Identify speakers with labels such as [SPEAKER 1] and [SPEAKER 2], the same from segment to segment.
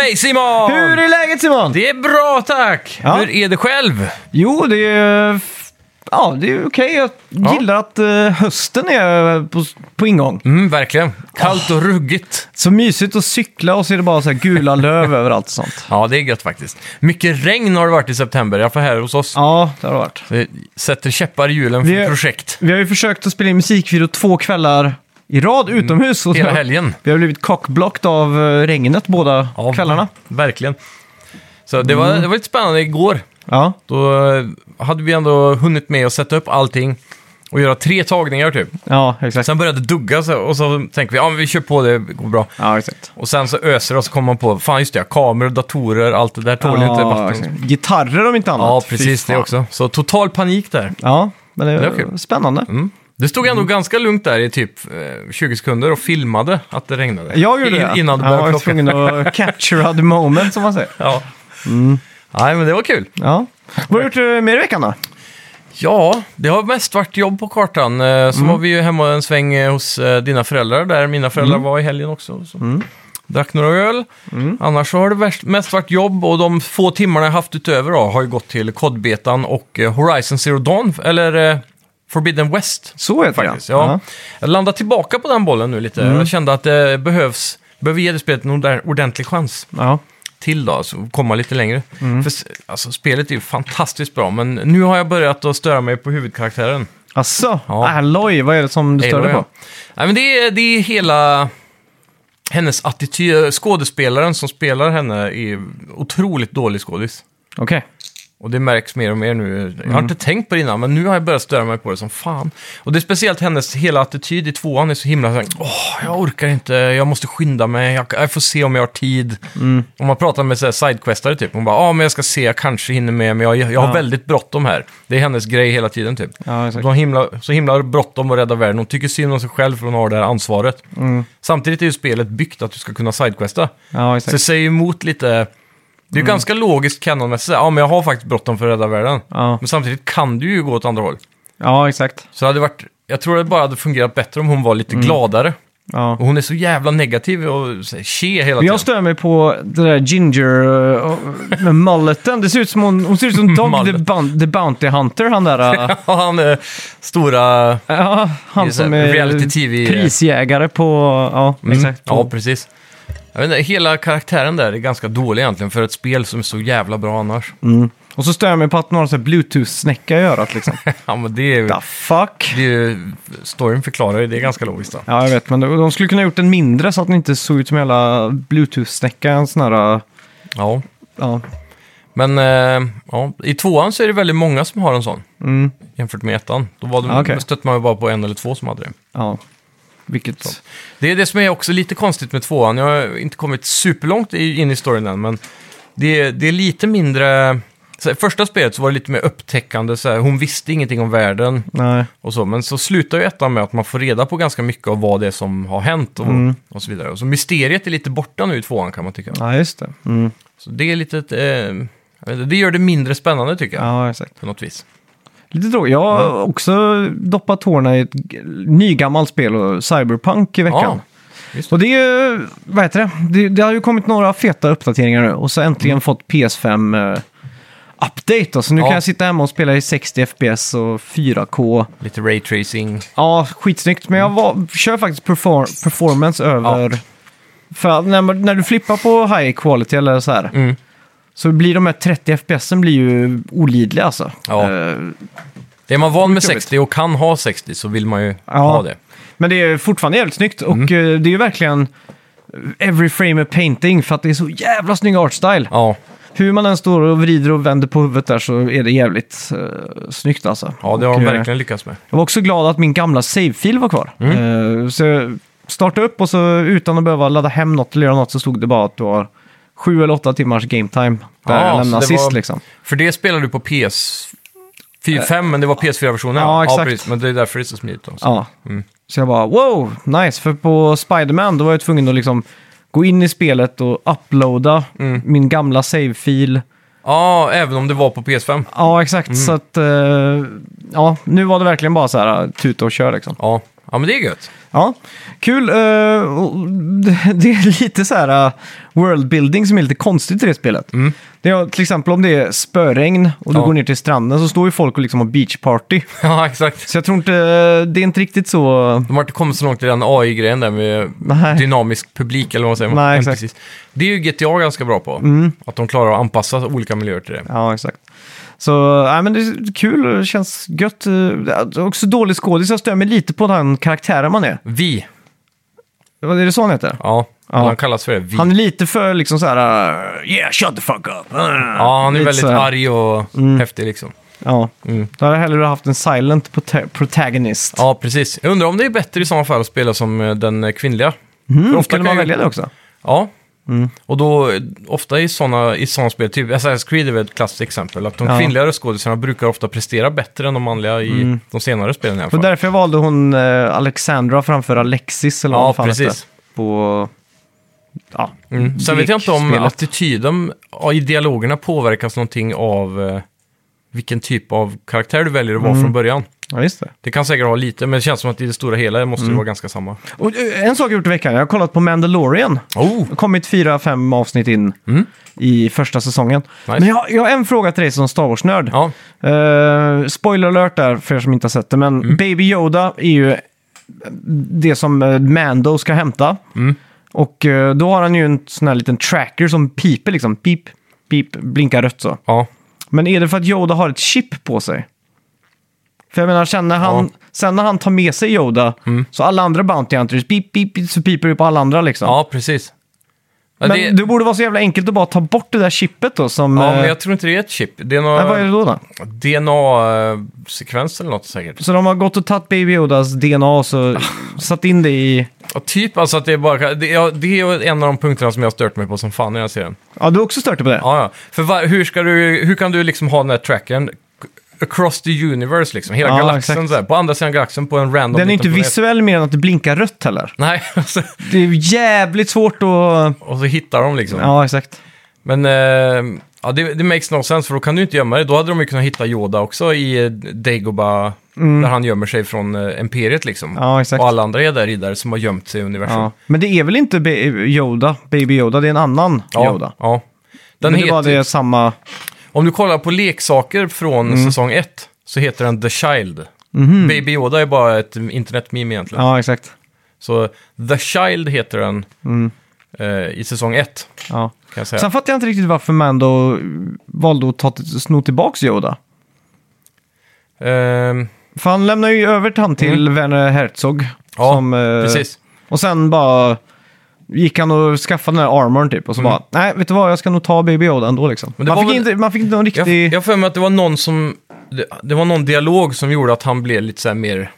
[SPEAKER 1] Hej Simon!
[SPEAKER 2] Hur är läget Simon?
[SPEAKER 1] Det är bra tack!
[SPEAKER 2] Ja.
[SPEAKER 1] Hur är det själv?
[SPEAKER 2] Jo, det är... f- Ja, det är okej. Jag
[SPEAKER 1] Ja.
[SPEAKER 2] gillar att eh, hösten är på, på ingång.
[SPEAKER 1] Mm, verkligen. Kallt och ruggigt.
[SPEAKER 2] Så mysigt att cykla och så är det bara så här gula löv överallt och sånt.
[SPEAKER 1] Ja, det är gött faktiskt. Mycket regn har det varit i september, i alla fall här hos oss.
[SPEAKER 2] Ja, det har det varit.
[SPEAKER 1] Det sätter käppar i hjulen för
[SPEAKER 2] Vi-
[SPEAKER 1] projekt
[SPEAKER 2] Vi har ju försökt att spela in musikvideo två kvällar i rad utomhus. Och
[SPEAKER 1] Mm. hela helgen.
[SPEAKER 2] Vi har blivit cockblocked av eh, regnet båda
[SPEAKER 1] Ja,
[SPEAKER 2] kvällarna. Mm.
[SPEAKER 1] Verkligen. Så det var, det var lite spännande igår.
[SPEAKER 2] Ja,
[SPEAKER 1] Då eh, hade vi ändå hunnit med att sätta upp allting och göra tre tagningar typ.
[SPEAKER 2] ja exakt.
[SPEAKER 1] Sen började det dugga så- och så tänker vi, ja men vi kör på det, det går bra.
[SPEAKER 2] Ja, exakt.
[SPEAKER 1] Och sen så öser det och så kommer man på, fan just det, kameror, datorer, allt det där tål ju inte
[SPEAKER 2] ja,
[SPEAKER 1] vatten.
[SPEAKER 2] exakt. Gitarrer om inte annat.
[SPEAKER 1] Ja,
[SPEAKER 2] Fy
[SPEAKER 1] precis det
[SPEAKER 2] fan.
[SPEAKER 1] också. Så total panik där.
[SPEAKER 2] Ja, men det
[SPEAKER 1] Det
[SPEAKER 2] är
[SPEAKER 1] var kul.
[SPEAKER 2] spännande.
[SPEAKER 1] Det stod
[SPEAKER 2] Mm.
[SPEAKER 1] ändå ganska lugnt där i typ eh, 20 sekunder och filmade att det regnade.
[SPEAKER 2] Jag gjorde det.
[SPEAKER 1] In, innan det
[SPEAKER 2] jag var
[SPEAKER 1] började
[SPEAKER 2] ju
[SPEAKER 1] klocka.
[SPEAKER 2] tvungen att capture the moment som man säger.
[SPEAKER 1] Ja.
[SPEAKER 2] Mm.
[SPEAKER 1] Nej, men det var kul.
[SPEAKER 2] Ja. Vad har du gjort eh, mer i veckan då?
[SPEAKER 1] Ja, det har mest varit jobb på kartan. Eh, Så var vi ju hemma en sväng eh, hos eh, dina föräldrar där. Mina föräldrar var i helgen också. Så. Drack några öl. Annars så har det värst- mest varit jobb och de få timmarna jag haft utöver då, har ju gått till kodbetan och eh, Horizon Zero Dawn, eller eh, Forbidden West.
[SPEAKER 2] Så heter
[SPEAKER 1] faktiskt. Ja. Mm. Jag landade tillbaka på den bollen nu lite. Jag kände att det behövs, behöver ge det spelet en orde- ordentlig chans
[SPEAKER 2] Ja.
[SPEAKER 1] till då, så komma lite längre.
[SPEAKER 2] Mm.
[SPEAKER 1] För, s- alltså, spelet är ju fantastiskt bra, men nu har jag börjat att störa mig på huvudkaraktären.
[SPEAKER 2] Asså?
[SPEAKER 1] Ja.
[SPEAKER 2] Alloy, vad är det som du stör dig
[SPEAKER 1] Aloy,
[SPEAKER 2] på?
[SPEAKER 1] ja. Nej, men det, är, det är hela hennes attityd. Skådespelaren som spelar henne är otroligt dålig skådis.
[SPEAKER 2] Okej.
[SPEAKER 1] Och det märks mer och mer nu. Jag har inte tänkt på det innan, men nu har jag börjat störa mig på det som fan. Och det är speciellt hennes hela attityd i tvåan är så himla såhär, åh, jag orkar inte, jag måste skynda mig, jag, jag får se om jag har tid. Om man pratar med så här sidequestare typ, hon bara, ja men jag ska se, jag kanske hinner med, men jag, jag har
[SPEAKER 2] Ja.
[SPEAKER 1] väldigt bråttom här. Det är hennes grej hela tiden typ.
[SPEAKER 2] Ja,
[SPEAKER 1] Så
[SPEAKER 2] exakt.
[SPEAKER 1] hon himla, så himla bråttom att rädda världen. Hon tycker synd om sig själv för hon har det här ansvaret. Samtidigt är ju spelet byggt att du ska kunna sidequesta.
[SPEAKER 2] Mm. Ja,
[SPEAKER 1] Så det
[SPEAKER 2] exakt.
[SPEAKER 1] säger ju emot lite... Det är ju ganska logiskt kanonmässigt. Ja, men jag har faktiskt bråttom för att rädda världen.
[SPEAKER 2] Ja.
[SPEAKER 1] Men samtidigt kan du ju gå åt andra håll.
[SPEAKER 2] ja, exakt.
[SPEAKER 1] Så det hade varit... Jag tror det bara hade fungerat bättre om hon var
[SPEAKER 2] Mm.
[SPEAKER 1] lite gladare.
[SPEAKER 2] Ja.
[SPEAKER 1] Och hon är så jävla negativ och så här, tje hela
[SPEAKER 2] Men
[SPEAKER 1] tiden.
[SPEAKER 2] jag stör mig på det där Ginger eh, med mulleten. Det ser ut som hon, hon ser ut som Dog the,
[SPEAKER 1] Mullet.
[SPEAKER 2] Bun- the Bounty Hunter, han där. eh,
[SPEAKER 1] Ja, han är stora...
[SPEAKER 2] Ja, han
[SPEAKER 1] Just det,
[SPEAKER 2] som är
[SPEAKER 1] reality TV.
[SPEAKER 2] prisjägare på... Ja, exakt.
[SPEAKER 1] Mm. Ja, precis. Jag vet inte, hela karaktären där är ganska dålig egentligen för ett spel som är så jävla bra annars.
[SPEAKER 2] Och så stör jag mig på att hon har en bluetooth-snäcka i örat liksom.
[SPEAKER 1] Ja, men det är ju...
[SPEAKER 2] The fuck?
[SPEAKER 1] Det är ju storyn förklarar ju, det är ganska logiskt. Då.
[SPEAKER 2] Ja, jag vet, men de de skulle kunna ha gjort den mindre så att den inte såg ut som en jävla bluetooth-snäcka. En sån här...
[SPEAKER 1] Ja.
[SPEAKER 2] Ja,
[SPEAKER 1] Men eh, ja, i tvåan så är det väldigt många som har en sån.
[SPEAKER 2] mm,
[SPEAKER 1] jämfört med ettan. Då var de,
[SPEAKER 2] Ah, okej.
[SPEAKER 1] stötte man ju bara på en eller två som hade det.
[SPEAKER 2] ja. Vilket...
[SPEAKER 1] Det är det som är också lite konstigt med tvåan. Jag har inte kommit superlångt i- in i storyn än, men det, är- det är lite mindre... Så här, första spelet så var det lite mer upptäckande, så här, hon visste ingenting om världen
[SPEAKER 2] Nej.
[SPEAKER 1] och så. Men så slutar ju ettan med att man får reda på ganska mycket av vad det är som har hänt och, och så vidare. Och så mysteriet är lite borta nu i tvåan kan man tycka.
[SPEAKER 2] Ja, just det. Mm.
[SPEAKER 1] Så det är lite... ett, Eh, jag vet inte, det gör det mindre spännande tycker jag,
[SPEAKER 2] Ja, exakt.
[SPEAKER 1] på något vis.
[SPEAKER 2] Lite tråkigt. Jag har också doppat tårna i ett g- nygammalt spel, och Cyberpunk, i veckan.
[SPEAKER 1] Ja, just det.
[SPEAKER 2] Och det är ju, vad heter det? det? Det har ju kommit några feta uppdateringar nu och så äntligen fått PS5 eh, update. Då. Så nu
[SPEAKER 1] Mm. Ja.
[SPEAKER 2] kan jag sitta hemma och spela i 60 FPS och 4K.
[SPEAKER 1] Lite raytracing.
[SPEAKER 2] Ja, skitsnyggt. Men jag
[SPEAKER 1] Mm.
[SPEAKER 2] var, kör faktiskt perfor- performance över... För att när, man- när du flippar på high quality eller så här,
[SPEAKER 1] Mm.
[SPEAKER 2] så blir de här 30 FPSen blir ju olidliga alltså.
[SPEAKER 1] Ja.
[SPEAKER 2] Eh,
[SPEAKER 1] Är man van
[SPEAKER 2] jobbigt.
[SPEAKER 1] med 60 och kan ha 60 så vill man ju
[SPEAKER 2] Ja.
[SPEAKER 1] ha det.
[SPEAKER 2] Men det är fortfarande jävligt snyggt och
[SPEAKER 1] Mm.
[SPEAKER 2] eh, det är ju verkligen every frame a painting för att det är så jävla snygg artstyle.
[SPEAKER 1] Ja,
[SPEAKER 2] Hur man än står och vrider och vänder på huvudet där så är det jävligt eh, snyggt alltså.
[SPEAKER 1] ja det har
[SPEAKER 2] Och,
[SPEAKER 1] de
[SPEAKER 2] eh,
[SPEAKER 1] verkligen lyckats med.
[SPEAKER 2] Jag var också glad att min gamla save-fil var kvar.
[SPEAKER 1] Mm.
[SPEAKER 2] Eh, så jag startade upp och så utan att behöva ladda hem något eller göra något så stod det bara att du har sju eller åtta timmars game time där
[SPEAKER 1] Ja,
[SPEAKER 2] jag
[SPEAKER 1] så
[SPEAKER 2] lämnade
[SPEAKER 1] det
[SPEAKER 2] sist
[SPEAKER 1] var-
[SPEAKER 2] liksom.
[SPEAKER 1] För det spelade du på PS5, men det var PS4-versionen.
[SPEAKER 2] ja, exakt.
[SPEAKER 1] precis. men det är därför det är så smidigt. Också.
[SPEAKER 2] Ja. Så jag bara wow, nice. För på Spider-Man då var jag tvungen att liksom gå in i spelet och uploada
[SPEAKER 1] Mm.
[SPEAKER 2] min gamla save-fil.
[SPEAKER 1] Ja, även om det var på PS5. Mm.
[SPEAKER 2] Ja, exakt. Så att eh, ja, nu var det verkligen bara så här tuta eh, och kör liksom.
[SPEAKER 1] Ja, Ja, men det är gött.
[SPEAKER 2] Ja, kul. Eh, och det- det är lite så här eh, world building som är lite konstigt i det spelet. Det är, till exempel om det är spöregn och du
[SPEAKER 1] Mm. Ja.
[SPEAKER 2] går ner till stranden så står ju folk och liksom har beachparty.
[SPEAKER 1] Ja, exakt.
[SPEAKER 2] Så jag tror inte, eh, det är inte riktigt så...
[SPEAKER 1] De har inte kommit så långt i den AI-grejen där med
[SPEAKER 2] Nej.
[SPEAKER 1] dynamisk publik eller vad man säger.
[SPEAKER 2] Nej,
[SPEAKER 1] Ja,
[SPEAKER 2] exakt. Mm.
[SPEAKER 1] precis. Det är ju GTA ganska bra på. Att de klarar att anpassa olika miljöer till det.
[SPEAKER 2] Ja, exakt. Så, nej men det är kul, och det känns gött. eh, det är Också dålig skådis, jag stör mig lite på den karaktären man är.
[SPEAKER 1] Vi.
[SPEAKER 2] Vad är det så han heter?
[SPEAKER 1] Ja,
[SPEAKER 2] Ja.
[SPEAKER 1] han kallas för det. Vi.
[SPEAKER 2] Han är lite för liksom så här... eh, Yeah, shut the fuck up!
[SPEAKER 1] ja, han
[SPEAKER 2] lite
[SPEAKER 1] är
[SPEAKER 2] Mm.
[SPEAKER 1] väldigt
[SPEAKER 2] så här.
[SPEAKER 1] arg och häftig liksom.
[SPEAKER 2] Ja.
[SPEAKER 1] Mm.
[SPEAKER 2] Då hade jag hellre haft en silent prota- protagonist.
[SPEAKER 1] Ja, precis. Jag undrar om det är bättre i sådana fall att spela som eh, den eh, kvinnliga.
[SPEAKER 2] Mm,
[SPEAKER 1] ofta
[SPEAKER 2] skulle
[SPEAKER 1] kan
[SPEAKER 2] man
[SPEAKER 1] ju-
[SPEAKER 2] välja det också?
[SPEAKER 1] Ja.
[SPEAKER 2] Mm.
[SPEAKER 1] Och då, eh, ofta i sådana i såna spel, typ Assassin's Creed är väl ett klassiskt exempel, att de
[SPEAKER 2] Ja. Mm.
[SPEAKER 1] kvinnliga röstskådisarna brukar ofta prestera bättre än de manliga i de senare spelen i alla
[SPEAKER 2] Det
[SPEAKER 1] fall.
[SPEAKER 2] var därför jag valde hon eh, Alexandra framför Alexis eller vad
[SPEAKER 1] ja,
[SPEAKER 2] fan hette.
[SPEAKER 1] precis.
[SPEAKER 2] På... Ja.
[SPEAKER 1] Mm. Sen vet jag inte om
[SPEAKER 2] lekspelet.
[SPEAKER 1] attityden ja, i dialogerna påverkas någonting av eh, vilken typ av karaktär du väljer att
[SPEAKER 2] Mm.
[SPEAKER 1] vara från början.
[SPEAKER 2] Ja, just det.
[SPEAKER 1] Det kan säkert ha lite, men det känns som att i det stora hela måste
[SPEAKER 2] Mm.
[SPEAKER 1] det vara ganska samma.
[SPEAKER 2] Och, eh, en sak jag gjort i veckan, jag har kollat på Mandalorian.
[SPEAKER 1] Oh!
[SPEAKER 2] Det har kommit fyra, fem avsnitt in
[SPEAKER 1] Mm.
[SPEAKER 2] i första säsongen.
[SPEAKER 1] Nice.
[SPEAKER 2] Men jag, jag har en fråga till dig som Star Wars-nörd.
[SPEAKER 1] Ja,
[SPEAKER 2] Eh, spoiler alert där för er som inte har sett det, men
[SPEAKER 1] Mm.
[SPEAKER 2] Baby Yoda är ju det som eh, Mando ska hämta.
[SPEAKER 1] Mm.
[SPEAKER 2] Och eh, då har han ju en sån här liten tracker som piper liksom. Pip, pip, blinkar rött så.
[SPEAKER 1] ja.
[SPEAKER 2] Men är det för att Yoda har ett chip på sig? För jag menar, sen när han, sen när han tar med sig Yoda,
[SPEAKER 1] Mm.
[SPEAKER 2] så alla andra Bounty Hunters, pip, pip, pip, så piper det på alla andra liksom.
[SPEAKER 1] ja precis. Ja,
[SPEAKER 2] men
[SPEAKER 1] det,
[SPEAKER 2] det... borde vara så jävla enkelt att bara ta bort det där chippet då som...
[SPEAKER 1] ja,
[SPEAKER 2] eh,
[SPEAKER 1] men jag tror inte det är ett chip. Det är
[SPEAKER 2] nej, vad är det
[SPEAKER 1] någon
[SPEAKER 2] då då?
[SPEAKER 1] DNA-sekvens eller något säkert.
[SPEAKER 2] Så de har gått och tagit Baby Yodas DNA och så satt in det i...
[SPEAKER 1] Ja, typ alltså att det är bara... Det, ja, det är ju en av de punkterna som jag har stört mig på som fan när jag ser den.
[SPEAKER 2] Ja, du har också stört dig på det?
[SPEAKER 1] Ja, ja. För va, hur, ska du, hur kan du liksom ha den här tracken across the universe liksom? Hela
[SPEAKER 2] Ja,
[SPEAKER 1] galaxen
[SPEAKER 2] exakt.
[SPEAKER 1] så här, På andra sidan galaxen på en random
[SPEAKER 2] Den är
[SPEAKER 1] liten
[SPEAKER 2] inte
[SPEAKER 1] planet.
[SPEAKER 2] visuell mer än att det blinkar rött heller.
[SPEAKER 1] Nej, alltså,
[SPEAKER 2] Det är jävligt svårt att...
[SPEAKER 1] och så hittar de liksom.
[SPEAKER 2] Ja, exakt.
[SPEAKER 1] Men eh, ja, det, det makes no sense för då kan du inte gömma dig. Då hade de ju kunnat hitta Yoda också i eh, Dagobah. Där han gömmer sig från eh, Imperiet liksom.
[SPEAKER 2] Mm. Ja, exakt.
[SPEAKER 1] Och alla andra är där riddare som har gömt sig i universum.
[SPEAKER 2] Ja. Men det är väl inte Ba- Yoda, Baby Yoda, det är en annan
[SPEAKER 1] Ja,
[SPEAKER 2] Yoda.
[SPEAKER 1] ja. Den
[SPEAKER 2] men det var
[SPEAKER 1] heter,
[SPEAKER 2] det samma...
[SPEAKER 1] Om du kollar på leksaker från
[SPEAKER 2] Mm.
[SPEAKER 1] säsong 1 så heter den The Child. Baby Yoda är bara ett internetmeme egentligen.
[SPEAKER 2] Mhm. Ja, exakt.
[SPEAKER 1] Så The Child heter den eh, i säsong 1
[SPEAKER 2] Ja.
[SPEAKER 1] kan jag säga.
[SPEAKER 2] Mm. Sen fattar jag inte riktigt varför Mando valde att ta, sno tillbaks Yoda.
[SPEAKER 1] Ehm,
[SPEAKER 2] För han lämnar ju över han till Werner Herzog.
[SPEAKER 1] Mm. ja,
[SPEAKER 2] som, eh,
[SPEAKER 1] precis.
[SPEAKER 2] Och sen bara gick han och skaffade den där armorn typ. Och så bara, nej vet du vad, jag ska nog ta Baby Yoda ändå liksom.
[SPEAKER 1] Mm. Men det
[SPEAKER 2] Man
[SPEAKER 1] var
[SPEAKER 2] fick,
[SPEAKER 1] väl-
[SPEAKER 2] inte, man fick inte någon
[SPEAKER 1] Jag,
[SPEAKER 2] riktig...
[SPEAKER 1] jag har för mig att det var någon som... Det, det var någon dialog som gjorde att han blev lite så här mer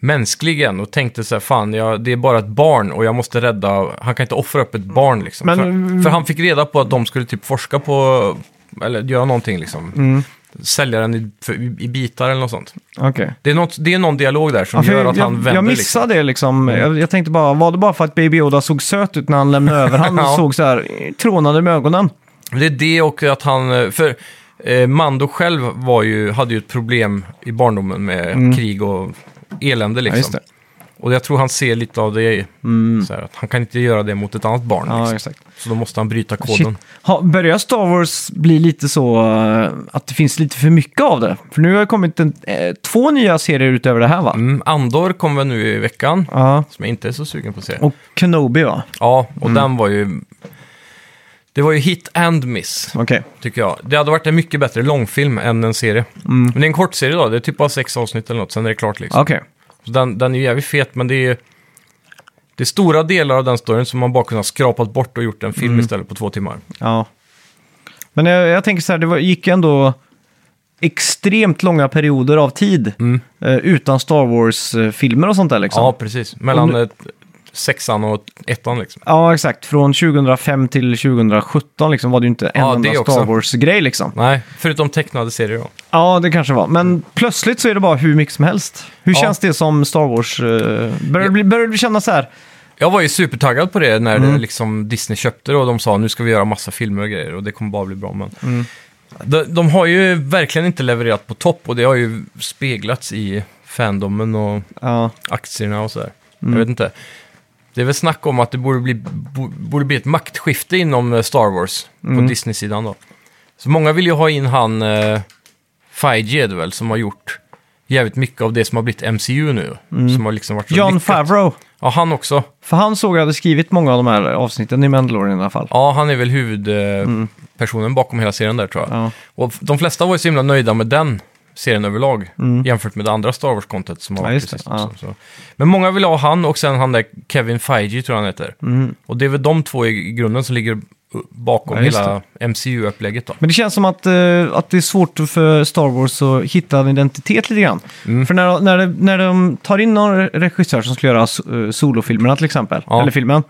[SPEAKER 1] mänsklig igen och tänkte så här, fan, jag, det är bara ett barn och jag måste rädda... Han kan inte offra upp ett barn liksom.
[SPEAKER 2] Men-
[SPEAKER 1] för, för han fick reda på att de skulle typ forska på... Eller göra någonting liksom.
[SPEAKER 2] Mm.
[SPEAKER 1] Sälja den i, för, i, i bitar eller något sånt.
[SPEAKER 2] Okej.
[SPEAKER 1] Det är, något, det är någon dialog där som
[SPEAKER 2] Ja, för
[SPEAKER 1] gör
[SPEAKER 2] jag,
[SPEAKER 1] att
[SPEAKER 2] jag,
[SPEAKER 1] han vänder
[SPEAKER 2] jag
[SPEAKER 1] liksom.
[SPEAKER 2] missade det liksom. Jag, jag tänkte bara, var det bara för att Baby Yoda såg söt ut när han lämnade över? Han
[SPEAKER 1] Ja.
[SPEAKER 2] såg så här eh, trånande med ögonen.
[SPEAKER 1] Det är det och att han... För eh, Mando själv var ju, hade ju ett problem i barndomen med krig och elände liksom.
[SPEAKER 2] Mm. just det.
[SPEAKER 1] Och jag tror han ser lite av det. i- Så här, att han kan inte göra det mot ett annat barn.
[SPEAKER 2] Mm. Ja,
[SPEAKER 1] liksom.
[SPEAKER 2] exakt.
[SPEAKER 1] Så då måste han bryta koden.
[SPEAKER 2] Shit. Ha, börjar Star Wars bli lite så eh, att det finns lite för mycket av det? För nu har det kommit en, eh, två nya serier utöver det här va?
[SPEAKER 1] Mm, Andor kom väl nu i veckan.
[SPEAKER 2] Ja.
[SPEAKER 1] Som jag inte är så sugen på att se.
[SPEAKER 2] Och Mm. Kenobi va?
[SPEAKER 1] Ja, och den var ju... Det var ju hit and miss,
[SPEAKER 2] Okej.
[SPEAKER 1] tycker jag. Det hade varit en mycket bättre långfilm än en serie.
[SPEAKER 2] Mm.
[SPEAKER 1] Men det är en kortserie då, det är typ bara sex avsnitt eller något, sen är det klart liksom.
[SPEAKER 2] Okej.
[SPEAKER 1] Så den, den är ju jävligt fet, men det är, det är stora delar av den storyn som man bara kunnat skrapat bort och gjort en
[SPEAKER 2] Mm.
[SPEAKER 1] film istället på två timmar.
[SPEAKER 2] Ja. Men jag, jag tänker så här, det var, gick ändå extremt långa perioder av tid eh, utan Star Wars-filmer och sånt där liksom.
[SPEAKER 1] Mm. Ja, precis. Mellan
[SPEAKER 2] Och nu-
[SPEAKER 1] eh, sexan och ettan liksom.
[SPEAKER 2] Ja, exakt. Från 2005 till 2017 liksom, var det ju inte en
[SPEAKER 1] Ja, det
[SPEAKER 2] enda
[SPEAKER 1] också.
[SPEAKER 2] Star Wars-grej. Liksom.
[SPEAKER 1] Nej, förutom tecknade serier då.
[SPEAKER 2] Ja, det kanske var. Men plötsligt så är det bara hur mycket som helst. Hur
[SPEAKER 1] Ja.
[SPEAKER 2] känns det som Star Wars? eh, börjar, det bli, börjar det bli kännas så här?
[SPEAKER 1] Jag var ju supertaggad på det när det, liksom, Disney köpte det och de sa nu ska vi göra massa filmer och grejer och det kommer bara bli bra. Men... De, de har ju verkligen inte levererat på topp och det har ju speglats i fandomen och
[SPEAKER 2] Ja,
[SPEAKER 1] aktierna och sådär. Jag vet inte. Det är väl snack om att det borde bli, bo- borde bli ett maktskifte inom eh, Star Wars på Disney-sidan då. Så många vill ju ha in han eh, Feige är det väl, som har gjort jävligt mycket av det som har blivit MCU nu. Som har liksom varit så
[SPEAKER 2] John
[SPEAKER 1] lyckat.
[SPEAKER 2] Favreau.
[SPEAKER 1] Ja, han också.
[SPEAKER 2] För han såg jag hade skrivit många av de här avsnitten i Mandalorian i alla fall.
[SPEAKER 1] Ja, han är väl huvudpersonen personen bakom hela serien där tror jag.
[SPEAKER 2] Ja.
[SPEAKER 1] Och de flesta var ju så himla nöjda med den serien överlag jämfört med det andra Star Wars-kontot som har
[SPEAKER 2] Mm. Ja,
[SPEAKER 1] varit
[SPEAKER 2] just det.
[SPEAKER 1] precis också. Så. Men många vill ha han och sen han där Kevin Feige tror jag han heter. Och det är väl de två i grunden som ligger bakom
[SPEAKER 2] Mm. Ja, just
[SPEAKER 1] hela MCU-upplägget då.
[SPEAKER 2] Men det känns som att, eh, att det är svårt för Star Wars att hitta en identitet lite grann.
[SPEAKER 1] Mm.
[SPEAKER 2] För när, när, det, när de tar in någon regissör som skulle göra so- eh, solofilmerna till exempel,
[SPEAKER 1] Ja. Mm.
[SPEAKER 2] eller filmen,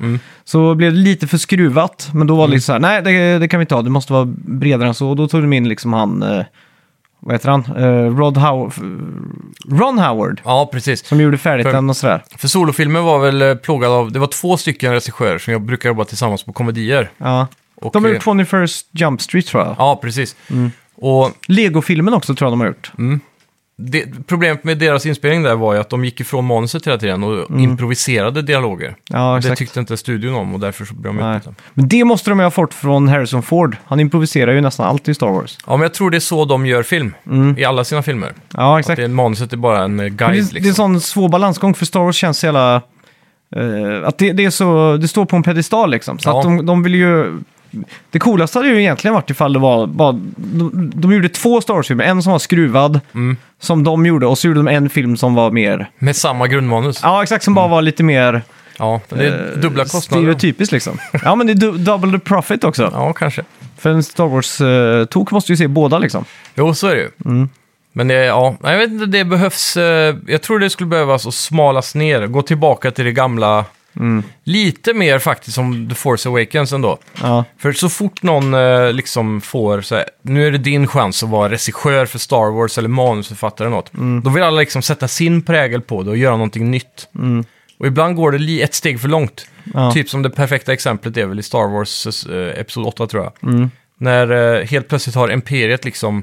[SPEAKER 2] så blev det lite för skruvat. Men då var det lite så här, nej det, det kan vi inte ha, det måste vara bredare än så. Och då tog de in liksom han, eh, vad heter han, Eh, Rod Howard, Ron Howard,
[SPEAKER 1] Ja, precis.
[SPEAKER 2] som gjorde färdigt
[SPEAKER 1] För-
[SPEAKER 2] den och sådär.
[SPEAKER 1] För solofilmen var väl eh, plågad av, det var två stycken regissörer som jag brukar jobba tillsammans på komedier.
[SPEAKER 2] Ja.
[SPEAKER 1] Och,
[SPEAKER 2] De Mm. har
[SPEAKER 1] eh,
[SPEAKER 2] gjort 21st Jump Street tror jag.
[SPEAKER 1] Ja, precis. Och
[SPEAKER 2] Lego-filmen också tror jag de har gjort.
[SPEAKER 1] det, problemet med deras inspelning där var ju att de gick ifrån manuset hela tiden och
[SPEAKER 2] Mm.
[SPEAKER 1] improviserade dialoger.
[SPEAKER 2] Ja,
[SPEAKER 1] det
[SPEAKER 2] exakt.
[SPEAKER 1] tyckte inte studion om och därför så blev de
[SPEAKER 2] Nej.
[SPEAKER 1] utbytta.
[SPEAKER 2] Men det måste de ju ha fått från Harrison Ford. Han improviserar ju nästan allt i Star Wars.
[SPEAKER 1] Ja, men jag tror det är så de gör film i alla sina filmer.
[SPEAKER 2] Ja,
[SPEAKER 1] Att
[SPEAKER 2] Mm. exakt.
[SPEAKER 1] det,
[SPEAKER 2] Det,
[SPEAKER 1] är- manuset är bara en eh, guide.
[SPEAKER 2] det,
[SPEAKER 1] liksom.
[SPEAKER 2] är en sån svår balansgång för Star Wars känns så jävla... eh, att det, det, är så, det står på en pedestal liksom. Så
[SPEAKER 1] Ja.
[SPEAKER 2] att de, de vill ju... Det coolaste hade ju egentligen varit ifall det var bara... De, de gjorde två Star Wars-filmer. En som var skruvad,
[SPEAKER 1] Mm.
[SPEAKER 2] som de gjorde. Och så gjorde de en film som var mer...
[SPEAKER 1] Med samma grundmanus. Ja,
[SPEAKER 2] Ja, exakt. Som bara var lite mer...
[SPEAKER 1] men Mm. det är
[SPEAKER 2] eh,
[SPEAKER 1] dubbla kostnader.
[SPEAKER 2] Stereotypiskt liksom. ja, men det är du, double the profit också.
[SPEAKER 1] Ja, kanske.
[SPEAKER 2] För en Star Wars-tok måste ju se båda liksom.
[SPEAKER 1] Jo, så är det ju.
[SPEAKER 2] Mm.
[SPEAKER 1] Men det, är- ja, Nej, jag vet inte, det behövs... eh, Jag tror det skulle behövas att smalas ner, gå tillbaka till det gamla.
[SPEAKER 2] Mm.
[SPEAKER 1] Lite mer faktiskt som The Force Awakens ändå.
[SPEAKER 2] Ja.
[SPEAKER 1] För så fort någon eh, liksom får så här, nu är det din chans att vara regissör för Star Wars eller manusförfattare eller något. Då vill alla liksom sätta sin prägel på det och göra någonting nytt. Och ibland går det li- ett steg för långt.
[SPEAKER 2] Ja.
[SPEAKER 1] Typ som det perfekta exemplet är väl i Star Wars eh, Episod 8 tror jag. När eh, helt plötsligt har Imperiet liksom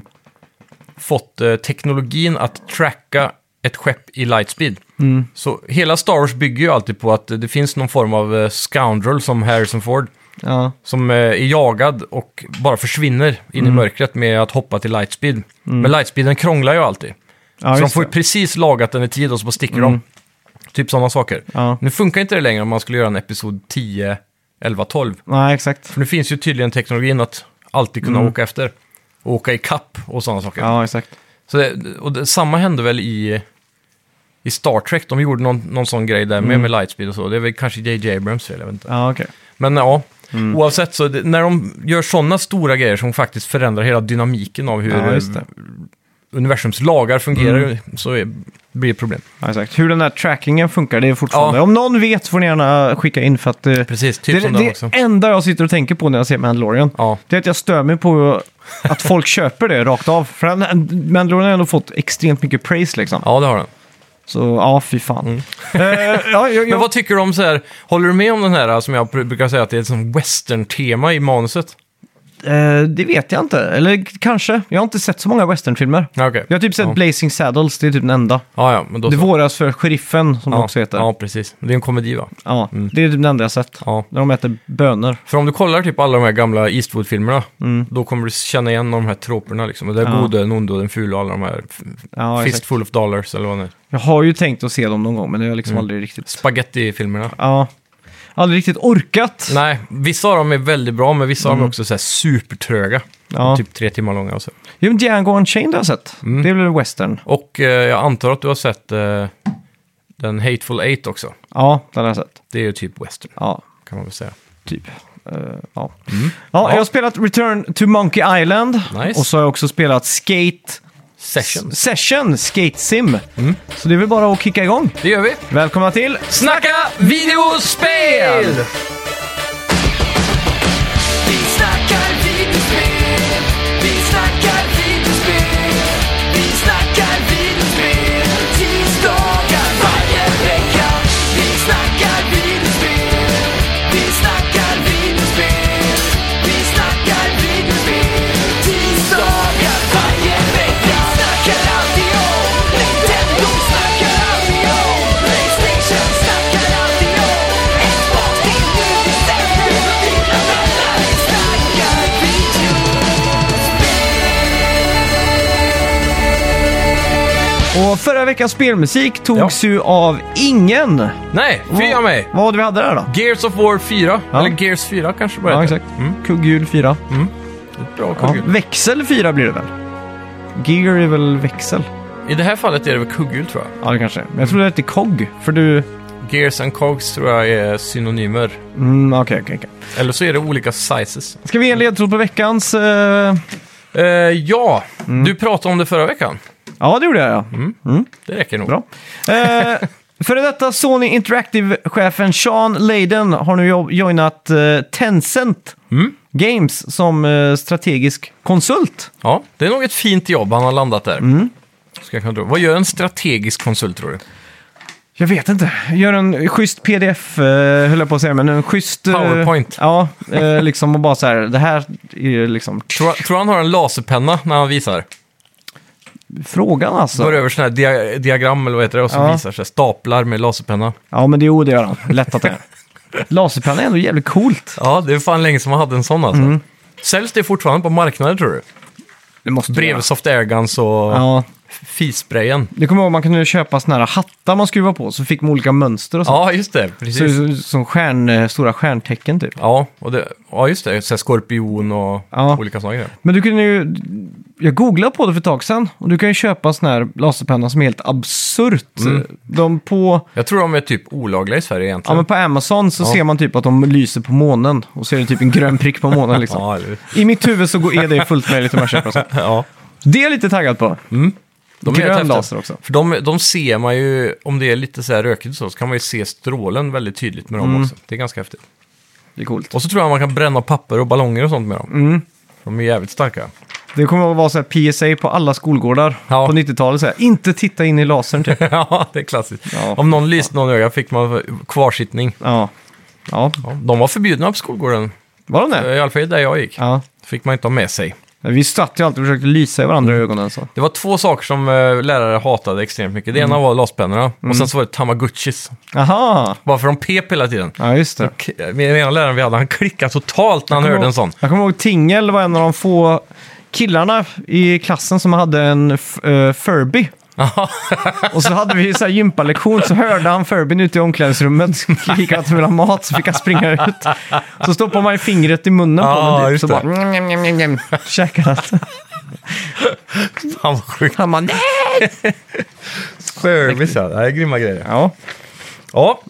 [SPEAKER 1] fått eh, teknologin att tracka ett skepp i lightspeed. Så hela Star Wars bygger ju alltid på att eh, det finns någon form av eh, scoundrel som Harrison Ford
[SPEAKER 2] Ja.
[SPEAKER 1] som eh, är jagad och bara försvinner in
[SPEAKER 2] Mm.
[SPEAKER 1] i mörkret med att hoppa till lightspeed. Men lightspeeden krånglar ju alltid.
[SPEAKER 2] Ja,
[SPEAKER 1] så de
[SPEAKER 2] just
[SPEAKER 1] får ju
[SPEAKER 2] det. Mm.
[SPEAKER 1] precis lagat den i tid och så bara sticker de. Typ sådana saker.
[SPEAKER 2] Ja.
[SPEAKER 1] Nu funkar inte det längre om man skulle göra en episod 10, 11, 12.
[SPEAKER 2] Nej, exakt.
[SPEAKER 1] För nu finns ju tydligen teknologin att alltid kunna åka efter. Och åka i kapp och sådana saker.
[SPEAKER 2] Mm. Ja, exakt.
[SPEAKER 1] Så det, och det, samma hände väl i, i Star Trek. De gjorde någon, någon sån grej där
[SPEAKER 2] Mm.
[SPEAKER 1] med, med lightspeed och så. Det är väl kanske JJ Abrams fel, jag vet inte.
[SPEAKER 2] Ja, okej.
[SPEAKER 1] Men ja,
[SPEAKER 2] Mm.
[SPEAKER 1] oavsett så, det, när de gör sådana stora grejer som faktiskt förändrar hela dynamiken av hur
[SPEAKER 2] Ja, just det. Mm.
[SPEAKER 1] universums lagar fungerar så är, blir det problem.
[SPEAKER 2] Ja, exakt. Hur den där trackingen funkar, det är fortfarande...
[SPEAKER 1] Ja.
[SPEAKER 2] Om någon vet får ni gärna skicka in för att... eh,
[SPEAKER 1] Precis, typ
[SPEAKER 2] det
[SPEAKER 1] som
[SPEAKER 2] är
[SPEAKER 1] den
[SPEAKER 2] det
[SPEAKER 1] också.
[SPEAKER 2] enda jag sitter och tänker på när jag ser Mandalorian.
[SPEAKER 1] Ja,
[SPEAKER 2] Det är att jag stör mig på att folk köper det rakt av. För den- Mandalorian har ändå fått extremt mycket praise liksom.
[SPEAKER 1] ja, det har den.
[SPEAKER 2] Så ja, fy fan. Eh, ja, jag,
[SPEAKER 1] Men
[SPEAKER 2] jag,
[SPEAKER 1] vad tycker du om så här, håller du med om den här som jag pr- brukar säga att det är ett sånt western-tema i manuset?
[SPEAKER 2] eh, det vet jag inte. Eller kanske. Jag har inte sett så många westernfilmer.
[SPEAKER 1] Ja, okej.
[SPEAKER 2] Jag har typ sett
[SPEAKER 1] Ja.
[SPEAKER 2] Blazing Saddles, det är typ den enda.
[SPEAKER 1] Ja, ja, men då
[SPEAKER 2] Det
[SPEAKER 1] så.
[SPEAKER 2] våras för sheriffen, som det
[SPEAKER 1] ja,
[SPEAKER 2] också heter.
[SPEAKER 1] Ja, precis. Det är en komedi va?
[SPEAKER 2] Ja, det är typ det enda jag har sett.
[SPEAKER 1] Mm. Ja.
[SPEAKER 2] När de äter bönor.
[SPEAKER 1] För om du kollar typ alla de här gamla Eastwood-filmerna, då kommer du känna igen de här troperna liksom. Och det är
[SPEAKER 2] Mm. Ja.
[SPEAKER 1] gode, den onde och den fula och alla de här. f-
[SPEAKER 2] Ja, exakt.
[SPEAKER 1] Fistful of dollars eller vad det är.
[SPEAKER 2] Jag har ju tänkt att se dem någon gång, men det har jag
[SPEAKER 1] Mm.
[SPEAKER 2] liksom aldrig riktigt...
[SPEAKER 1] Spaghetti-filmerna.
[SPEAKER 2] Ja. Aldrig riktigt orkat.
[SPEAKER 1] Nej, vissa av dem är väldigt bra, men vissa av dem är också så här supertröga.
[SPEAKER 2] Ja.
[SPEAKER 1] Typ tre timmar långa och så.
[SPEAKER 2] Jo, men Django Unchained har jag sett.
[SPEAKER 1] Mm.
[SPEAKER 2] Det är väl western?
[SPEAKER 1] Och eh, jag antar att du har sett eh, den Hateful Eight också.
[SPEAKER 2] Ja, den har jag sett.
[SPEAKER 1] Det är ju typ western,
[SPEAKER 2] Ja,
[SPEAKER 1] kan man väl säga.
[SPEAKER 2] typ. Eh, ja. ja,
[SPEAKER 1] Mm. Ja.
[SPEAKER 2] jag har spelat Return to Monkey Island.
[SPEAKER 1] Nice.
[SPEAKER 2] Och så har jag också spelat Skate
[SPEAKER 1] Session. Mm.
[SPEAKER 2] Session, Skate Sim. Så det är väl bara att kicka igång.
[SPEAKER 1] Det gör vi.
[SPEAKER 2] Välkomna till
[SPEAKER 1] Snacka videospel!
[SPEAKER 3] Vi snackar videospel, vi snackar videospel, vi snackar videospel, tisdagar varje vecka. Vi snackar videospel, vi snackar videospel, vi snackar videospel, tisdagar varje vecka. Vi snackar alltid om Nintendo, snackar
[SPEAKER 2] Och förra veckans spelmusik togs ju av ingen.
[SPEAKER 1] Nej, fy av mig!
[SPEAKER 2] Vad var det vi hade där då?
[SPEAKER 1] Gears of War 4,
[SPEAKER 2] Ja.
[SPEAKER 1] eller Gears 4 kanske bara
[SPEAKER 2] Ja,
[SPEAKER 1] heter.
[SPEAKER 2] exakt. Kugghjul 4.
[SPEAKER 1] Bra
[SPEAKER 2] Ja.
[SPEAKER 1] Mm. kugghjul.
[SPEAKER 2] Växel 4 blir det väl? Gear är väl växel?
[SPEAKER 1] I det här fallet är det väl kugghjul tror jag.
[SPEAKER 2] Ja, det kanske är. Men Jag tror det hette kogg, för du...
[SPEAKER 1] Gears and Cogs tror jag är synonymer.
[SPEAKER 2] Mm, okej, okej, okej.
[SPEAKER 1] Eller så är det olika sizes.
[SPEAKER 2] Ska vi ge en ledtråd på veckans... eh,
[SPEAKER 1] Eh, ja, du pratade om det förra veckan.
[SPEAKER 2] Ja, det gjorde jag ja.
[SPEAKER 1] Det räcker nog.
[SPEAKER 2] Bra. Eh, Före detta Sony Interactive-chefen Sean Layden har nu jo- joinat eh, Tencent Games som eh, strategisk konsult.
[SPEAKER 1] Ja, det är nog ett fint jobb han har landat där.
[SPEAKER 2] Mm.
[SPEAKER 1] Ska jag kunna tro. Vad gör en strategisk konsult tror du?
[SPEAKER 2] Jag vet inte. Gör en schysst pdf, eh, höll jag på att säga, men en schysst... eh,
[SPEAKER 1] PowerPoint.
[SPEAKER 2] Ja, eh, liksom och bara så här, det här är liksom...
[SPEAKER 1] Tror, tror han har en laserpenna när han visar?
[SPEAKER 2] Frågan alltså.
[SPEAKER 1] Går över sådana här dia diagram eller vad heter det och så
[SPEAKER 2] Ja.
[SPEAKER 1] visar sig staplar med laserpenna.
[SPEAKER 2] Ja, men det, jo, det gör han. Lätt att det är. Laserpenna är ändå jävligt coolt.
[SPEAKER 1] Ja, det är fan länge sedan man hade en sån alltså.
[SPEAKER 2] Mm.
[SPEAKER 1] Säljs det fortfarande på marknaden tror du?
[SPEAKER 2] Det måste det
[SPEAKER 1] Bredvid
[SPEAKER 2] göra.
[SPEAKER 1] Soft Airguns och
[SPEAKER 2] Ja,
[SPEAKER 1] fisprayen.
[SPEAKER 2] det kommer jag ihåg man kunde köpa såna här hattar man skruvar på så fick man olika mönster och så.
[SPEAKER 1] Ja, just det.
[SPEAKER 2] Så,
[SPEAKER 1] Precis.
[SPEAKER 2] så, som stjärn, eh, stora stjärntecken typ.
[SPEAKER 1] Ja, och det, ja, just det. Så här skorpion och
[SPEAKER 2] Ja.
[SPEAKER 1] olika sådana grejer.
[SPEAKER 2] Men du kunde ju... Jag googlade på det för ett tag sedan och du kan ju köpa sån här laserpenna som är helt absurt.
[SPEAKER 1] Mm.
[SPEAKER 2] De på,
[SPEAKER 1] Jag tror de är typ olagliga i Sverige
[SPEAKER 2] ja,
[SPEAKER 1] egentligen.
[SPEAKER 2] men på Amazon så
[SPEAKER 1] Ja.
[SPEAKER 2] ser man typ att de lyser på månen och så är det typ en grön prick på månen liksom.
[SPEAKER 1] Ja, eller,
[SPEAKER 2] I mitt huvud så går- är det fullt möjligt om jag köper sånt.
[SPEAKER 1] ja.
[SPEAKER 2] Det är jag lite taggad på.
[SPEAKER 1] Mm. De
[SPEAKER 2] Grön
[SPEAKER 1] rätt häftiga.
[SPEAKER 2] laser också.
[SPEAKER 1] För de, de ser man ju, om det är lite så här rökigt så, så kan man ju se strålen väldigt tydligt med dem
[SPEAKER 2] Mm.
[SPEAKER 1] också. Det är ganska häftigt.
[SPEAKER 2] Det är coolt.
[SPEAKER 1] Och så tror jag man kan bränna papper och ballonger och sånt med dem.
[SPEAKER 2] Mm.
[SPEAKER 1] De är jävligt starka.
[SPEAKER 2] Det kommer att vara så här PSA på alla skolgårdar
[SPEAKER 1] Ja.
[SPEAKER 2] på 90-talet. Så här, inte titta in i lasern typ.
[SPEAKER 1] ja, det är klassiskt.
[SPEAKER 2] Ja.
[SPEAKER 1] Om någon lyste någon i ögat fick man kvarsittning.
[SPEAKER 2] Ja. ja,
[SPEAKER 1] Ja, de var förbjudna på skolgården, Eh,
[SPEAKER 2] var de det?
[SPEAKER 1] i alla fall där jag gick.
[SPEAKER 2] Ja.
[SPEAKER 1] fick man inte ha med sig.
[SPEAKER 2] Vi satt ju alltid och försökte lysa i varandra i ögonen. Så.
[SPEAKER 1] Det var två saker som eh, lärare hatade extremt mycket. Det
[SPEAKER 2] Mm.
[SPEAKER 1] ena var laspennorna och sen så var det tamagotchis.
[SPEAKER 2] Aha,
[SPEAKER 1] Bara för de pep hela tiden.
[SPEAKER 2] ja just det.
[SPEAKER 1] K- Den ena läraren vi hade, han klickade totalt när han hörde en sån.
[SPEAKER 2] Jag kommer ihåg Tingel var en av de få killarna i klassen som hade en f- eh, Furby. och så hade vi så här gympalektion så hörde han Furbyn ute i omklädningsrummet. Klickade att han ville ha mat så fick han springa ut. Så stoppade man ju fingret i munnen på
[SPEAKER 1] Ja,
[SPEAKER 2] honom typ,
[SPEAKER 1] just
[SPEAKER 2] så
[SPEAKER 1] det.
[SPEAKER 2] bara njam, njam, njam, njam, käkade han.
[SPEAKER 1] Han var sjukt.
[SPEAKER 2] Han bara nej!
[SPEAKER 1] Service ja, det här är grymma grejer.
[SPEAKER 2] Ja,
[SPEAKER 1] Ja,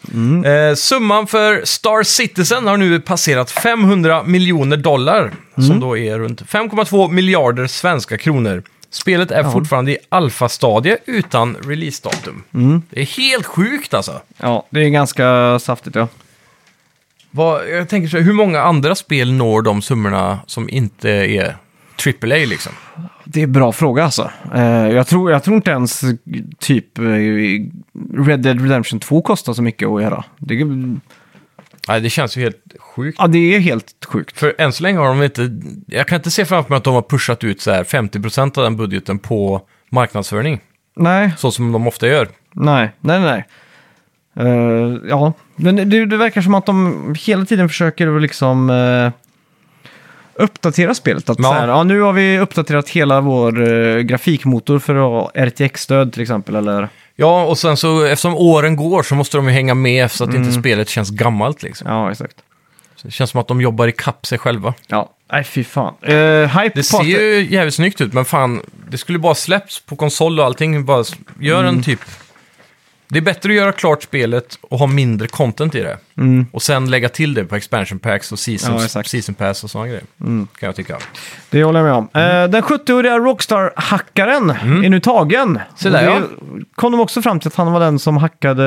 [SPEAKER 1] eh, summan för Star Citizen har nu passerat 500 miljoner dollar,
[SPEAKER 2] Mm.
[SPEAKER 1] som då är runt 5,2 miljarder svenska kronor. Spelet är fortfarande i alfastadie utan releasedatum.
[SPEAKER 2] Mm.
[SPEAKER 1] Det är helt sjukt alltså.
[SPEAKER 2] ja, det är ganska saftigt ja.
[SPEAKER 1] Vad, jag tänker så här, hur många andra spel når de summorna som inte är AAA liksom?
[SPEAKER 2] Det är en bra fråga alltså. Eh, jag, tror, jag tror inte ens eh, typ eh, Red Dead Redemption 2 kostar så mycket att göra. Det,
[SPEAKER 1] Nej, det känns ju helt sjukt.
[SPEAKER 2] ja, det är helt sjukt.
[SPEAKER 1] För än så länge har de inte... Jag kan inte se framför mig att de har pushat ut så här 50% av den budgeten på marknadsföring.
[SPEAKER 2] Nej,
[SPEAKER 1] Så som de ofta gör.
[SPEAKER 2] nej, nej, nej. Eh, ja, men det, det verkar som att de hela tiden försöker att liksom eh, uppdatera spelet. Att
[SPEAKER 1] Ja.
[SPEAKER 2] så här, ja, nu har vi uppdaterat hela vår eh, grafikmotor för att ha RTX-stöd till exempel. Eller,
[SPEAKER 1] Ja, och sen så eftersom åren går så måste de ju hänga med så att inte spelet känns gammalt liksom.
[SPEAKER 2] ja, exakt.
[SPEAKER 1] Så det känns som att de jobbar i kapp sig själva.
[SPEAKER 2] Ja, nej fy fan. Eh, hype
[SPEAKER 1] Det
[SPEAKER 2] på
[SPEAKER 1] ser
[SPEAKER 2] att-
[SPEAKER 1] ju jävligt snyggt ut, men fan, det skulle bara släppts på konsol och allting. Bara s- gör en typ... Det är bättre att göra klart spelet och ha mindre content i det. Och sen lägga till det på expansion packs
[SPEAKER 2] Ja,
[SPEAKER 1] och seasons,
[SPEAKER 2] exakt.
[SPEAKER 1] season pass och sådana grejer. Kan jag tycka.
[SPEAKER 2] Det håller jag med om.
[SPEAKER 1] Mm.
[SPEAKER 2] Eh, den 70-åriga Rockstar-hackaren är nu tagen.
[SPEAKER 1] Se Mm. där,
[SPEAKER 2] Och det kom de också fram till att han var den som hackade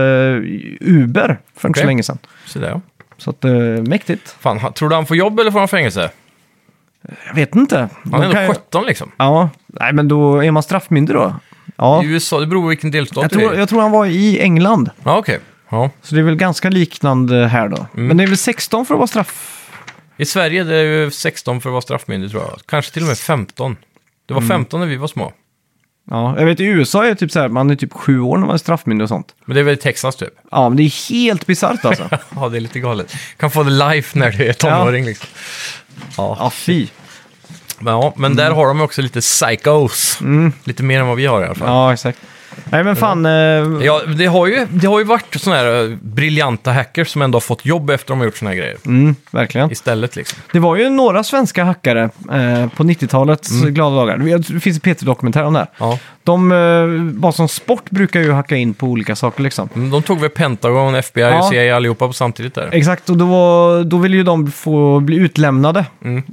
[SPEAKER 2] Uber för inte
[SPEAKER 1] Okej.
[SPEAKER 2] så länge sedan.
[SPEAKER 1] Så där, ja.
[SPEAKER 2] Så att, eh, mäktigt.
[SPEAKER 1] Fan, ha- tror du han får jobb eller får han fängelse?
[SPEAKER 2] Jag vet inte.
[SPEAKER 1] Han är
[SPEAKER 2] De kan ju-
[SPEAKER 1] ändå 17 liksom.
[SPEAKER 2] Ja, nej men då är man straffmyndig då. Ja,
[SPEAKER 1] I USA, det beror på vilken delstat
[SPEAKER 2] jag
[SPEAKER 1] det
[SPEAKER 2] tror,
[SPEAKER 1] är. i.
[SPEAKER 2] jag tror han var i England.
[SPEAKER 1] Ja, okej. Ja.
[SPEAKER 2] Så det är väl ganska liknande här då.
[SPEAKER 1] Mm.
[SPEAKER 2] Men det är väl 16 för att vara straff...
[SPEAKER 1] I Sverige det är ju 16 för att vara straffmyndig tror jag. Kanske till och med 15. Det var
[SPEAKER 2] Mm.
[SPEAKER 1] 15 när vi var små.
[SPEAKER 2] Ja, jag vet i USA är det typ så här, man är typ sju år när man är straffmyndig och sånt.
[SPEAKER 1] Men det är väl i Texas typ.
[SPEAKER 2] Ja, men det är helt bisarrt alltså.
[SPEAKER 1] Ja, det är lite galet. Kan få the life när du är tonåring liksom. Ja,
[SPEAKER 2] ja, fy. Mm.
[SPEAKER 1] men, ja, men där har de också lite psychos. Lite mer än vad vi har i alla fall.
[SPEAKER 2] Ja, exakt. Nej men fan, eh,
[SPEAKER 1] Ja, det har ju, det har ju varit sådana här eh, briljanta hackers som ändå har fått jobb efter de har gjort sådana här grejer.
[SPEAKER 2] mm, verkligen.
[SPEAKER 1] Istället liksom.
[SPEAKER 2] Det var ju några svenska hackare eh, på 90-talets
[SPEAKER 1] Mm.
[SPEAKER 2] glada dagar. Det finns en PT-dokumentär om det här.
[SPEAKER 1] Ja.
[SPEAKER 2] De, eh, bara som sport, brukar ju hacka in på olika saker liksom.
[SPEAKER 1] Mm, De tog väl Pentagon, FBI
[SPEAKER 2] Ja.
[SPEAKER 1] och CIA allihopa på samtidigt där.
[SPEAKER 2] Exakt, och då, var, då ville ju de få bli utlämnade.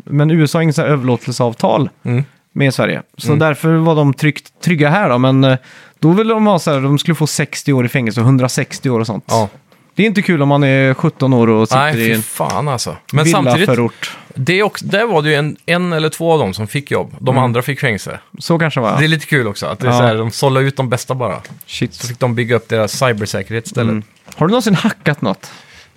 [SPEAKER 2] Men USA har inget så här överlåtelseavtal
[SPEAKER 1] Mm.
[SPEAKER 2] med Sverige. Så därför var de tryggt, trygga här då. Men eh, då ville de ha så här, de skulle få 60 år i fängelse och 160 år och sånt.
[SPEAKER 1] Ja.
[SPEAKER 2] Det är inte kul om man är 17 år och sitter
[SPEAKER 1] Nej,
[SPEAKER 2] i
[SPEAKER 1] fy
[SPEAKER 2] en
[SPEAKER 1] fan alltså. Men samtidigt,
[SPEAKER 2] villaförort.
[SPEAKER 1] det är också, där var det ju en, en eller två av dem som fick jobb. De andra fick fängelse.
[SPEAKER 2] Så kanske det var.
[SPEAKER 1] Det är lite kul också, att det är
[SPEAKER 2] Mm. Ja.
[SPEAKER 1] så här, de sållade ut de bästa bara. Så
[SPEAKER 2] Shit.
[SPEAKER 1] fick de bygga upp deras cybersäkerhet istället.
[SPEAKER 2] Mm. Har du någonsin hackat något?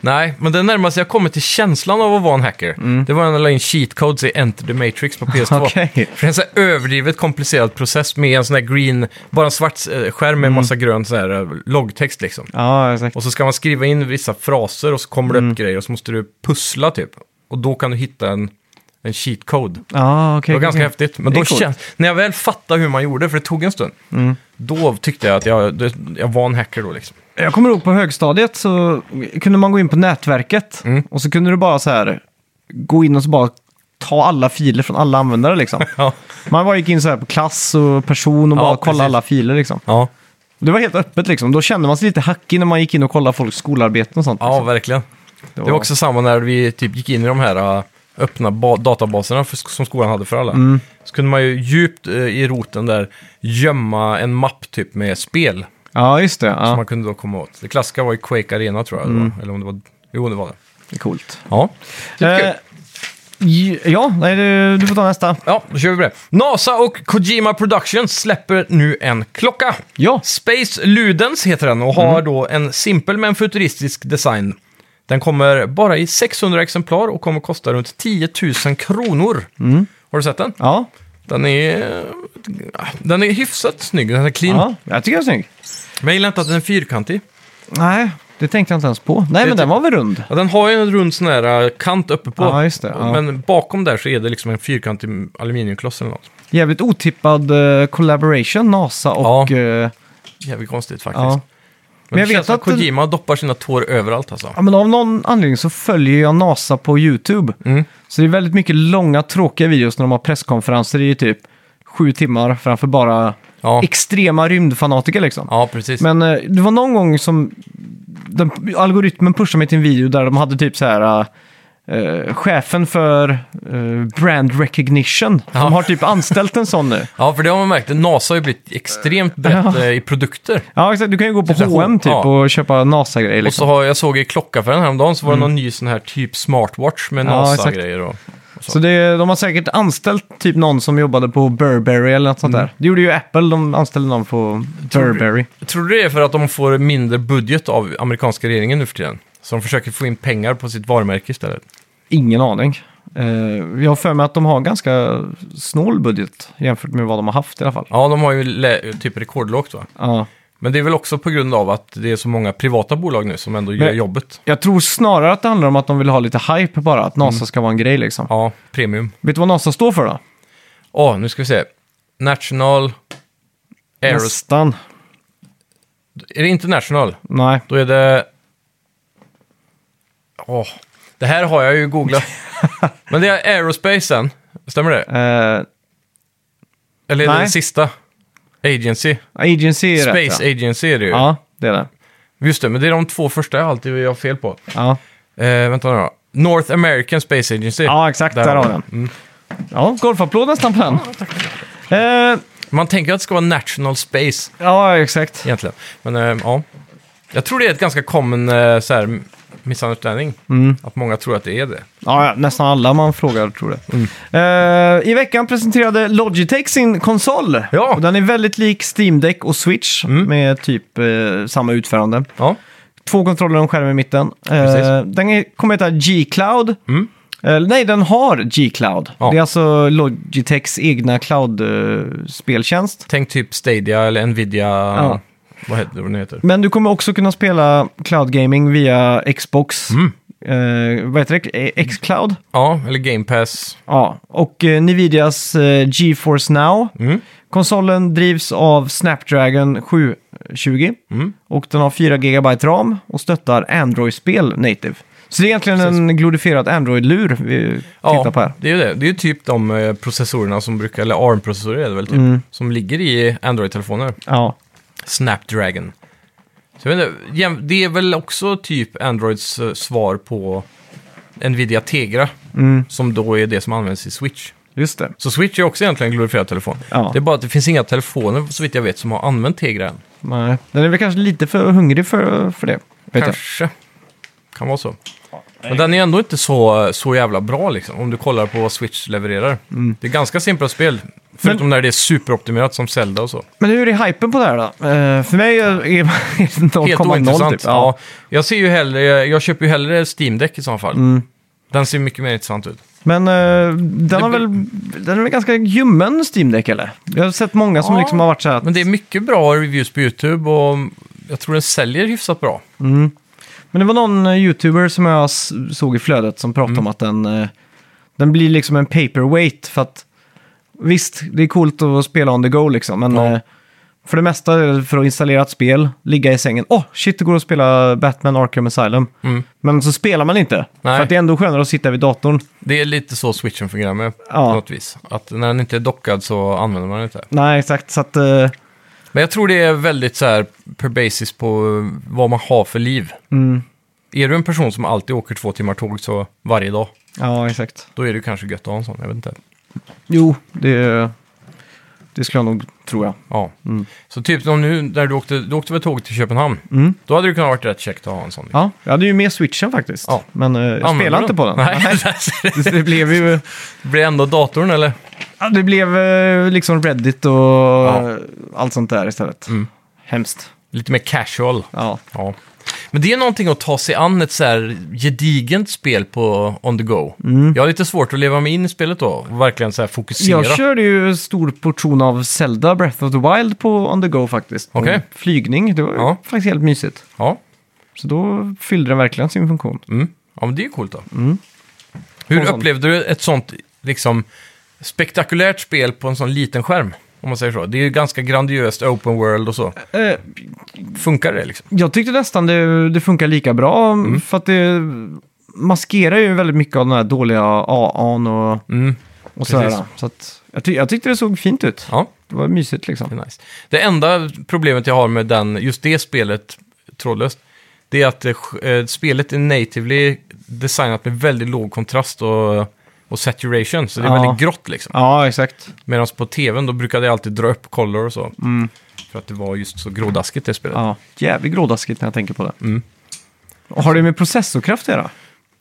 [SPEAKER 1] Nej, men det närmaste jag kommit till känslan av att vara en hacker, det var när jag la in cheat codes i Enter the Matrix på PS2.
[SPEAKER 2] Mm. Okej.
[SPEAKER 1] För det är en sån här överdrivet komplicerad process med en sån här green, bara en svart eh, skärm
[SPEAKER 2] Mm.
[SPEAKER 1] med en massa grön sån här eh, loggtext liksom.
[SPEAKER 2] Ja, exakt.
[SPEAKER 1] Och så ska man skriva in vissa fraser och så kommer
[SPEAKER 2] Mm.
[SPEAKER 1] det upp grejer och så måste du pussla typ. Och då kan du hitta en, en cheat code.
[SPEAKER 2] Ja, okej.
[SPEAKER 1] Det var ganska
[SPEAKER 2] okej.
[SPEAKER 1] häftigt. Men
[SPEAKER 2] Det är
[SPEAKER 1] då
[SPEAKER 2] coolt. Mm.
[SPEAKER 1] känns, när jag väl fattade hur man gjorde, för det tog en stund, då tyckte jag att jag, det- jag var en hacker då liksom.
[SPEAKER 2] Jag kommer ihåg på högstadiet så kunde man gå in på nätverket
[SPEAKER 1] Mm.
[SPEAKER 2] och så kunde du bara så här gå in och så bara ta alla filer från alla användare liksom.
[SPEAKER 1] Ja.
[SPEAKER 2] Man bara gick in så här på klass och person och
[SPEAKER 1] Ja,
[SPEAKER 2] bara kollade
[SPEAKER 1] precis.
[SPEAKER 2] alla filer liksom.
[SPEAKER 1] Ja,
[SPEAKER 2] Det var helt öppet liksom. Då kände man sig lite hackig när man gick in och kollade folks skolarbeten och sånt.
[SPEAKER 1] ja
[SPEAKER 2] liksom.
[SPEAKER 1] verkligen. Det var också samma när vi typ gick in i de här äh, öppna ba- databaserna för, som skolan hade för alla.
[SPEAKER 2] Mm.
[SPEAKER 1] Så kunde man ju djupt eh, i roten där gömma en mapp typ med spel.
[SPEAKER 2] Ja, just det.
[SPEAKER 1] Som
[SPEAKER 2] Ja. Mm.
[SPEAKER 1] man kunde då komma åt. Det klassiska var ju Quake Arena tror jag. det var. Eller om det var... Jo, det Typ var det.
[SPEAKER 2] Det är coolt.
[SPEAKER 1] Ja.
[SPEAKER 2] Eh, j- ja, nej, du, du får ta nästa.
[SPEAKER 1] Ja, då kör vi på det. NASA och Kojima Productions släpper nu en klocka.
[SPEAKER 2] Ja. Mm.
[SPEAKER 1] Space Ludens heter den och har då en simpel men futuristisk design. Den kommer bara i 600 exemplar och kommer kosta runt 10 000 kronor. Har du sett den?
[SPEAKER 2] Mm. Ja.
[SPEAKER 1] Den är, eh, den är hyfsat snygg, den är clean.
[SPEAKER 2] ja, jag tycker den är snygg.
[SPEAKER 1] Men jag gillar inte att den är fyrkantig.
[SPEAKER 2] Nej, det tänkte jag inte ens på. Nej, men
[SPEAKER 1] ty-
[SPEAKER 2] den var väl rund?
[SPEAKER 1] Ja, den har ju en rund sån här eh, kant uppe på.
[SPEAKER 2] Ja, just det, ja.
[SPEAKER 1] Men bakom där så är det liksom en fyrkantig aluminiumkloss eller något.
[SPEAKER 2] Jävligt otippad eh, collaboration, NASA och...
[SPEAKER 1] Ja.
[SPEAKER 2] eh,
[SPEAKER 1] Jävligt konstigt faktiskt.
[SPEAKER 2] Ja.
[SPEAKER 1] Men, jag vet att
[SPEAKER 2] den-
[SPEAKER 1] Kojima doppar sina tår överallt alltså.
[SPEAKER 2] Ja, men av någon anledning så följer jag NASA på YouTube.
[SPEAKER 1] Mm.
[SPEAKER 2] Så det är väldigt mycket långa tråkiga videos när de har presskonferenser i typ sju timmar framför bara
[SPEAKER 1] Ja,
[SPEAKER 2] extrema rymdfanatiker liksom.
[SPEAKER 1] ja precis.
[SPEAKER 2] Men eh, det var någon gång som den, algoritmen pushade mig till en video där de hade typ så här... eh, chefen för eh, brand recognition.
[SPEAKER 1] Ja.
[SPEAKER 2] De har typ anställt en sån nu.
[SPEAKER 1] Ja, för det har man märkt. NASA har ju blivit extremt brett
[SPEAKER 2] Ja.
[SPEAKER 1] eh, i produkter.
[SPEAKER 2] Ja, exakt. Du kan ju gå på
[SPEAKER 1] Typ så här
[SPEAKER 2] H&M typ
[SPEAKER 1] ja.
[SPEAKER 2] och köpa NASA-grejer.
[SPEAKER 1] Och så
[SPEAKER 2] Liksom. Mm.
[SPEAKER 1] har jag såg i klockaffären häromdagen så var det någon ny sån här typ smartwatch med
[SPEAKER 2] Ja,
[SPEAKER 1] NASA-grejer. Och...
[SPEAKER 2] Så det, de har säkert anställt typ någon som jobbade på Burberry eller något sånt
[SPEAKER 1] Mm.
[SPEAKER 2] där. Det gjorde ju Apple, de anställde någon på Burberry.
[SPEAKER 1] Tror du det är för att de får mindre budget av amerikanska regeringen nu för tiden? Så de försöker få in pengar på sitt varumärke istället.
[SPEAKER 2] Ingen aning. Eh, jag har för mig att de har ganska snål budget jämfört med vad de har haft i alla fall.
[SPEAKER 1] Ja, de har ju lä- typ rekordlågt va?
[SPEAKER 2] Ja.
[SPEAKER 1] Men det är väl också på grund av att det är så många privata bolag nu som ändå gör
[SPEAKER 2] Men-
[SPEAKER 1] jobbet.
[SPEAKER 2] Jag tror snarare att det handlar om att de vill ha lite hype bara, att
[SPEAKER 1] Mm.
[SPEAKER 2] NASA ska vara en grej liksom.
[SPEAKER 1] Ja, premium.
[SPEAKER 2] Vet du vad NASA står för då?
[SPEAKER 1] Åh, nu ska vi se. National Aeros...
[SPEAKER 2] Nästan.
[SPEAKER 1] Är det international?
[SPEAKER 2] Nej.
[SPEAKER 1] Då är det... Åh, det här har jag ju googlat. Men det är aerospacen, stämmer det?
[SPEAKER 2] Eh,
[SPEAKER 1] Eller är det
[SPEAKER 2] Nej.
[SPEAKER 1] den sista? Agency?
[SPEAKER 2] agency är rätt
[SPEAKER 1] Space Agency är det ju.
[SPEAKER 2] Ja, det är det.
[SPEAKER 1] Just det, men det är de två första jag alltid har fel på.
[SPEAKER 2] Ja,
[SPEAKER 1] Eh, vänta nu då. North American Space Agency.
[SPEAKER 2] ja exakt. Där, har vi den.
[SPEAKER 1] Mm.
[SPEAKER 2] Ja, golfapplåd nästan på den. Eh,
[SPEAKER 1] Man tänker att det ska vara National Space
[SPEAKER 2] ja, exakt.
[SPEAKER 1] egentligen. Men eh, ja, jag tror det är ett ganska common eh, så här, missunderstanding.
[SPEAKER 2] Mm.
[SPEAKER 1] Att många tror att det är det.
[SPEAKER 2] Ja, ja, nästan alla man frågar tror det. Eh, I veckan presenterade Logitech sin konsol.
[SPEAKER 1] Mm. Ja. Mm.
[SPEAKER 2] Och Den är väldigt lik Steam Deck och Switch med typ eh, samma utförande.
[SPEAKER 1] Ja,
[SPEAKER 2] Två kontroller och en skärm i mitten. Eh,
[SPEAKER 1] Precis. Mm.
[SPEAKER 2] den är- kommer heta G-Cloud. Eh, nej, den har G-Cloud.
[SPEAKER 1] Ja.
[SPEAKER 2] Det är alltså Logitechs egna cloud-speltjänst.
[SPEAKER 1] tänk typ Stadia eller Nvidia. Vad heter det? Vad den heter. Mm.
[SPEAKER 2] Men du kommer också kunna spela cloud gaming via Xbox. eh, vad heter det? Eh, Xcloud.
[SPEAKER 1] Ja, eller Game Pass.
[SPEAKER 2] Ja, och eh, Nvidias eh, GeForce Now.
[SPEAKER 1] Mm.
[SPEAKER 2] Konsolen drivs av Snapdragon 720
[SPEAKER 1] Mm.
[SPEAKER 2] och den har 4 GB RAM och stöttar Android-spel native. Så det är egentligen en glorifierad Android-lur vi tittar på här.
[SPEAKER 1] det är ju det. Det är ju typ de eh, processorerna som brukar, eller ARM-processorer är det väl typ,
[SPEAKER 2] Mm.
[SPEAKER 1] som ligger i Android-telefoner.
[SPEAKER 2] Ja,
[SPEAKER 1] Snapdragon. Så jag vet inte, jäm- det är väl också typ Androids eh, svar på Nvidia Tegra,
[SPEAKER 2] Mm.
[SPEAKER 1] som då är det som används i Switch.
[SPEAKER 2] just det.
[SPEAKER 1] Så Switch är också egentligen en glorifierad telefon.
[SPEAKER 2] Ja.
[SPEAKER 1] Det är bara att det finns inga telefoner, så vitt jag vet, som har använt Tegra än.
[SPEAKER 2] Nej. Den är väl kanske lite för hungrig för, för det. Vet jag.
[SPEAKER 1] Kanske. Kan vara så. Men den är ändå inte så, så jävla bra liksom, om du kollar på vad Switch levererar.
[SPEAKER 2] Mm.
[SPEAKER 1] Det är ganska simpla spel, förutom när det är superoptimerat som Zelda och så.
[SPEAKER 2] Men hur är hypen på det här då? Eh, för mig är är det
[SPEAKER 1] Helt
[SPEAKER 2] 0,0
[SPEAKER 1] ointressant.
[SPEAKER 2] typ.
[SPEAKER 1] Ja. Jag, ser ju hellre, jag köper ju hellre Steam Deck i så fall.
[SPEAKER 2] Mm.
[SPEAKER 1] Den ser mycket mer intressant ut.
[SPEAKER 2] Men eh, den, har
[SPEAKER 1] Det-
[SPEAKER 2] väl, den är väl ganska ljummen Steam Deck eller? Jag har sett många som
[SPEAKER 1] Ja,
[SPEAKER 2] liksom har varit så här. att-
[SPEAKER 1] Men det är mycket bra reviews på YouTube och jag tror den säljer hyfsat bra.
[SPEAKER 2] Men det var någon eh, YouTuber som jag s- såg i flödet som pratade
[SPEAKER 1] Mm.
[SPEAKER 2] om att den, eh, den blir liksom en paperweight. För att, visst, det är coolt att spela on the go liksom, men
[SPEAKER 1] Ja.
[SPEAKER 2] eh, för det mesta är det för att installera ett spel, ligga i sängen. Åh, oh, shit, det går att spela Batman Arkham Asylum.
[SPEAKER 1] Mm.
[SPEAKER 2] Men så spelar man inte.
[SPEAKER 1] Nej.
[SPEAKER 2] För att det är ändå skönare att sitta vid datorn.
[SPEAKER 1] Det är lite så switchen fungerar med
[SPEAKER 2] Ja.
[SPEAKER 1] på något vis. Att när den inte är dockad så använder man den inte.
[SPEAKER 2] Nej, exakt. Så att, eh,
[SPEAKER 1] Men jag tror det är väldigt så här per basis på eh, vad man har för liv.
[SPEAKER 2] mm,
[SPEAKER 1] Är du en person som alltid åker två timmar tåg så varje dag,
[SPEAKER 2] ja, exakt.
[SPEAKER 1] då är det kanske gött att ha en sån. Jag vet inte.
[SPEAKER 2] Jo, det, det skulle jag nog tro, ja.
[SPEAKER 1] Ja. Så typ som nu när du åkte, du åkte väl tåget till Köpenhamn. Då hade det kunnat varit rätt käckt att ha en sån.
[SPEAKER 2] Ja, jag hade ju med switchen faktiskt.
[SPEAKER 1] Ja.
[SPEAKER 2] Men eh, jag
[SPEAKER 1] Använder
[SPEAKER 2] spelade
[SPEAKER 1] du
[SPEAKER 2] inte på den.
[SPEAKER 1] Nej.
[SPEAKER 2] Det- Det blev ju...
[SPEAKER 1] Blir det ändå datorn eller?
[SPEAKER 2] Ja, det blev eh, liksom Reddit och eh, allt sånt där istället.
[SPEAKER 1] Mm.
[SPEAKER 2] Hemskt.
[SPEAKER 1] Lite mer casual.
[SPEAKER 2] Ja.
[SPEAKER 1] Ja. Men det är någonting att ta sig an ett så här gedigent spel på on the go.
[SPEAKER 2] Mm.
[SPEAKER 1] Jag har lite svårt att leva mig in i spelet då. Och verkligen så här fokusera.
[SPEAKER 2] Jag körde ju en stor portion av Zelda Breath of the Wild på On the Go faktiskt. På
[SPEAKER 1] Okej.
[SPEAKER 2] Flygning, det var ju
[SPEAKER 1] Ja.
[SPEAKER 2] faktiskt helt mysigt.
[SPEAKER 1] Ja.
[SPEAKER 2] Så då fyllde den verkligen sin funktion.
[SPEAKER 1] Mm. ja, men det är ju coolt då. Hur
[SPEAKER 2] Och Mm. sånt.
[SPEAKER 1] upplevde du ett sånt liksom, spektakulärt spel på en sån liten skärm? Om man säger så. Det är ju ganska grandiöst open world och så.
[SPEAKER 2] Eh,
[SPEAKER 1] Funkar det liksom?
[SPEAKER 2] jag tyckte nästan det, det funkar lika bra,
[SPEAKER 1] Mm.
[SPEAKER 2] för att det maskerar ju väldigt mycket av den här dåliga AA'n och,
[SPEAKER 1] Mm.
[SPEAKER 2] och sådär.
[SPEAKER 1] precis.
[SPEAKER 2] Så att, jag, ty- jag tyckte det såg fint ut.
[SPEAKER 1] Ja,
[SPEAKER 2] Det var mysigt liksom.
[SPEAKER 1] det är nice. Det enda problemet jag har med den, just det spelet, trådlöst, det är att eh, sk- eh, spelet är natively designat med väldigt låg kontrast och, och saturation, så det är
[SPEAKER 2] Ja.
[SPEAKER 1] väldigt grått liksom.
[SPEAKER 2] Ja, exakt.
[SPEAKER 1] Medan på tvn då brukade jag alltid dra upp color och så. För att det var just så grådaskigt det spelet.
[SPEAKER 2] Ja, jävligt grådaskigt när jag tänker på det.
[SPEAKER 1] Mm.
[SPEAKER 2] Och Har det med processorkraft att göra?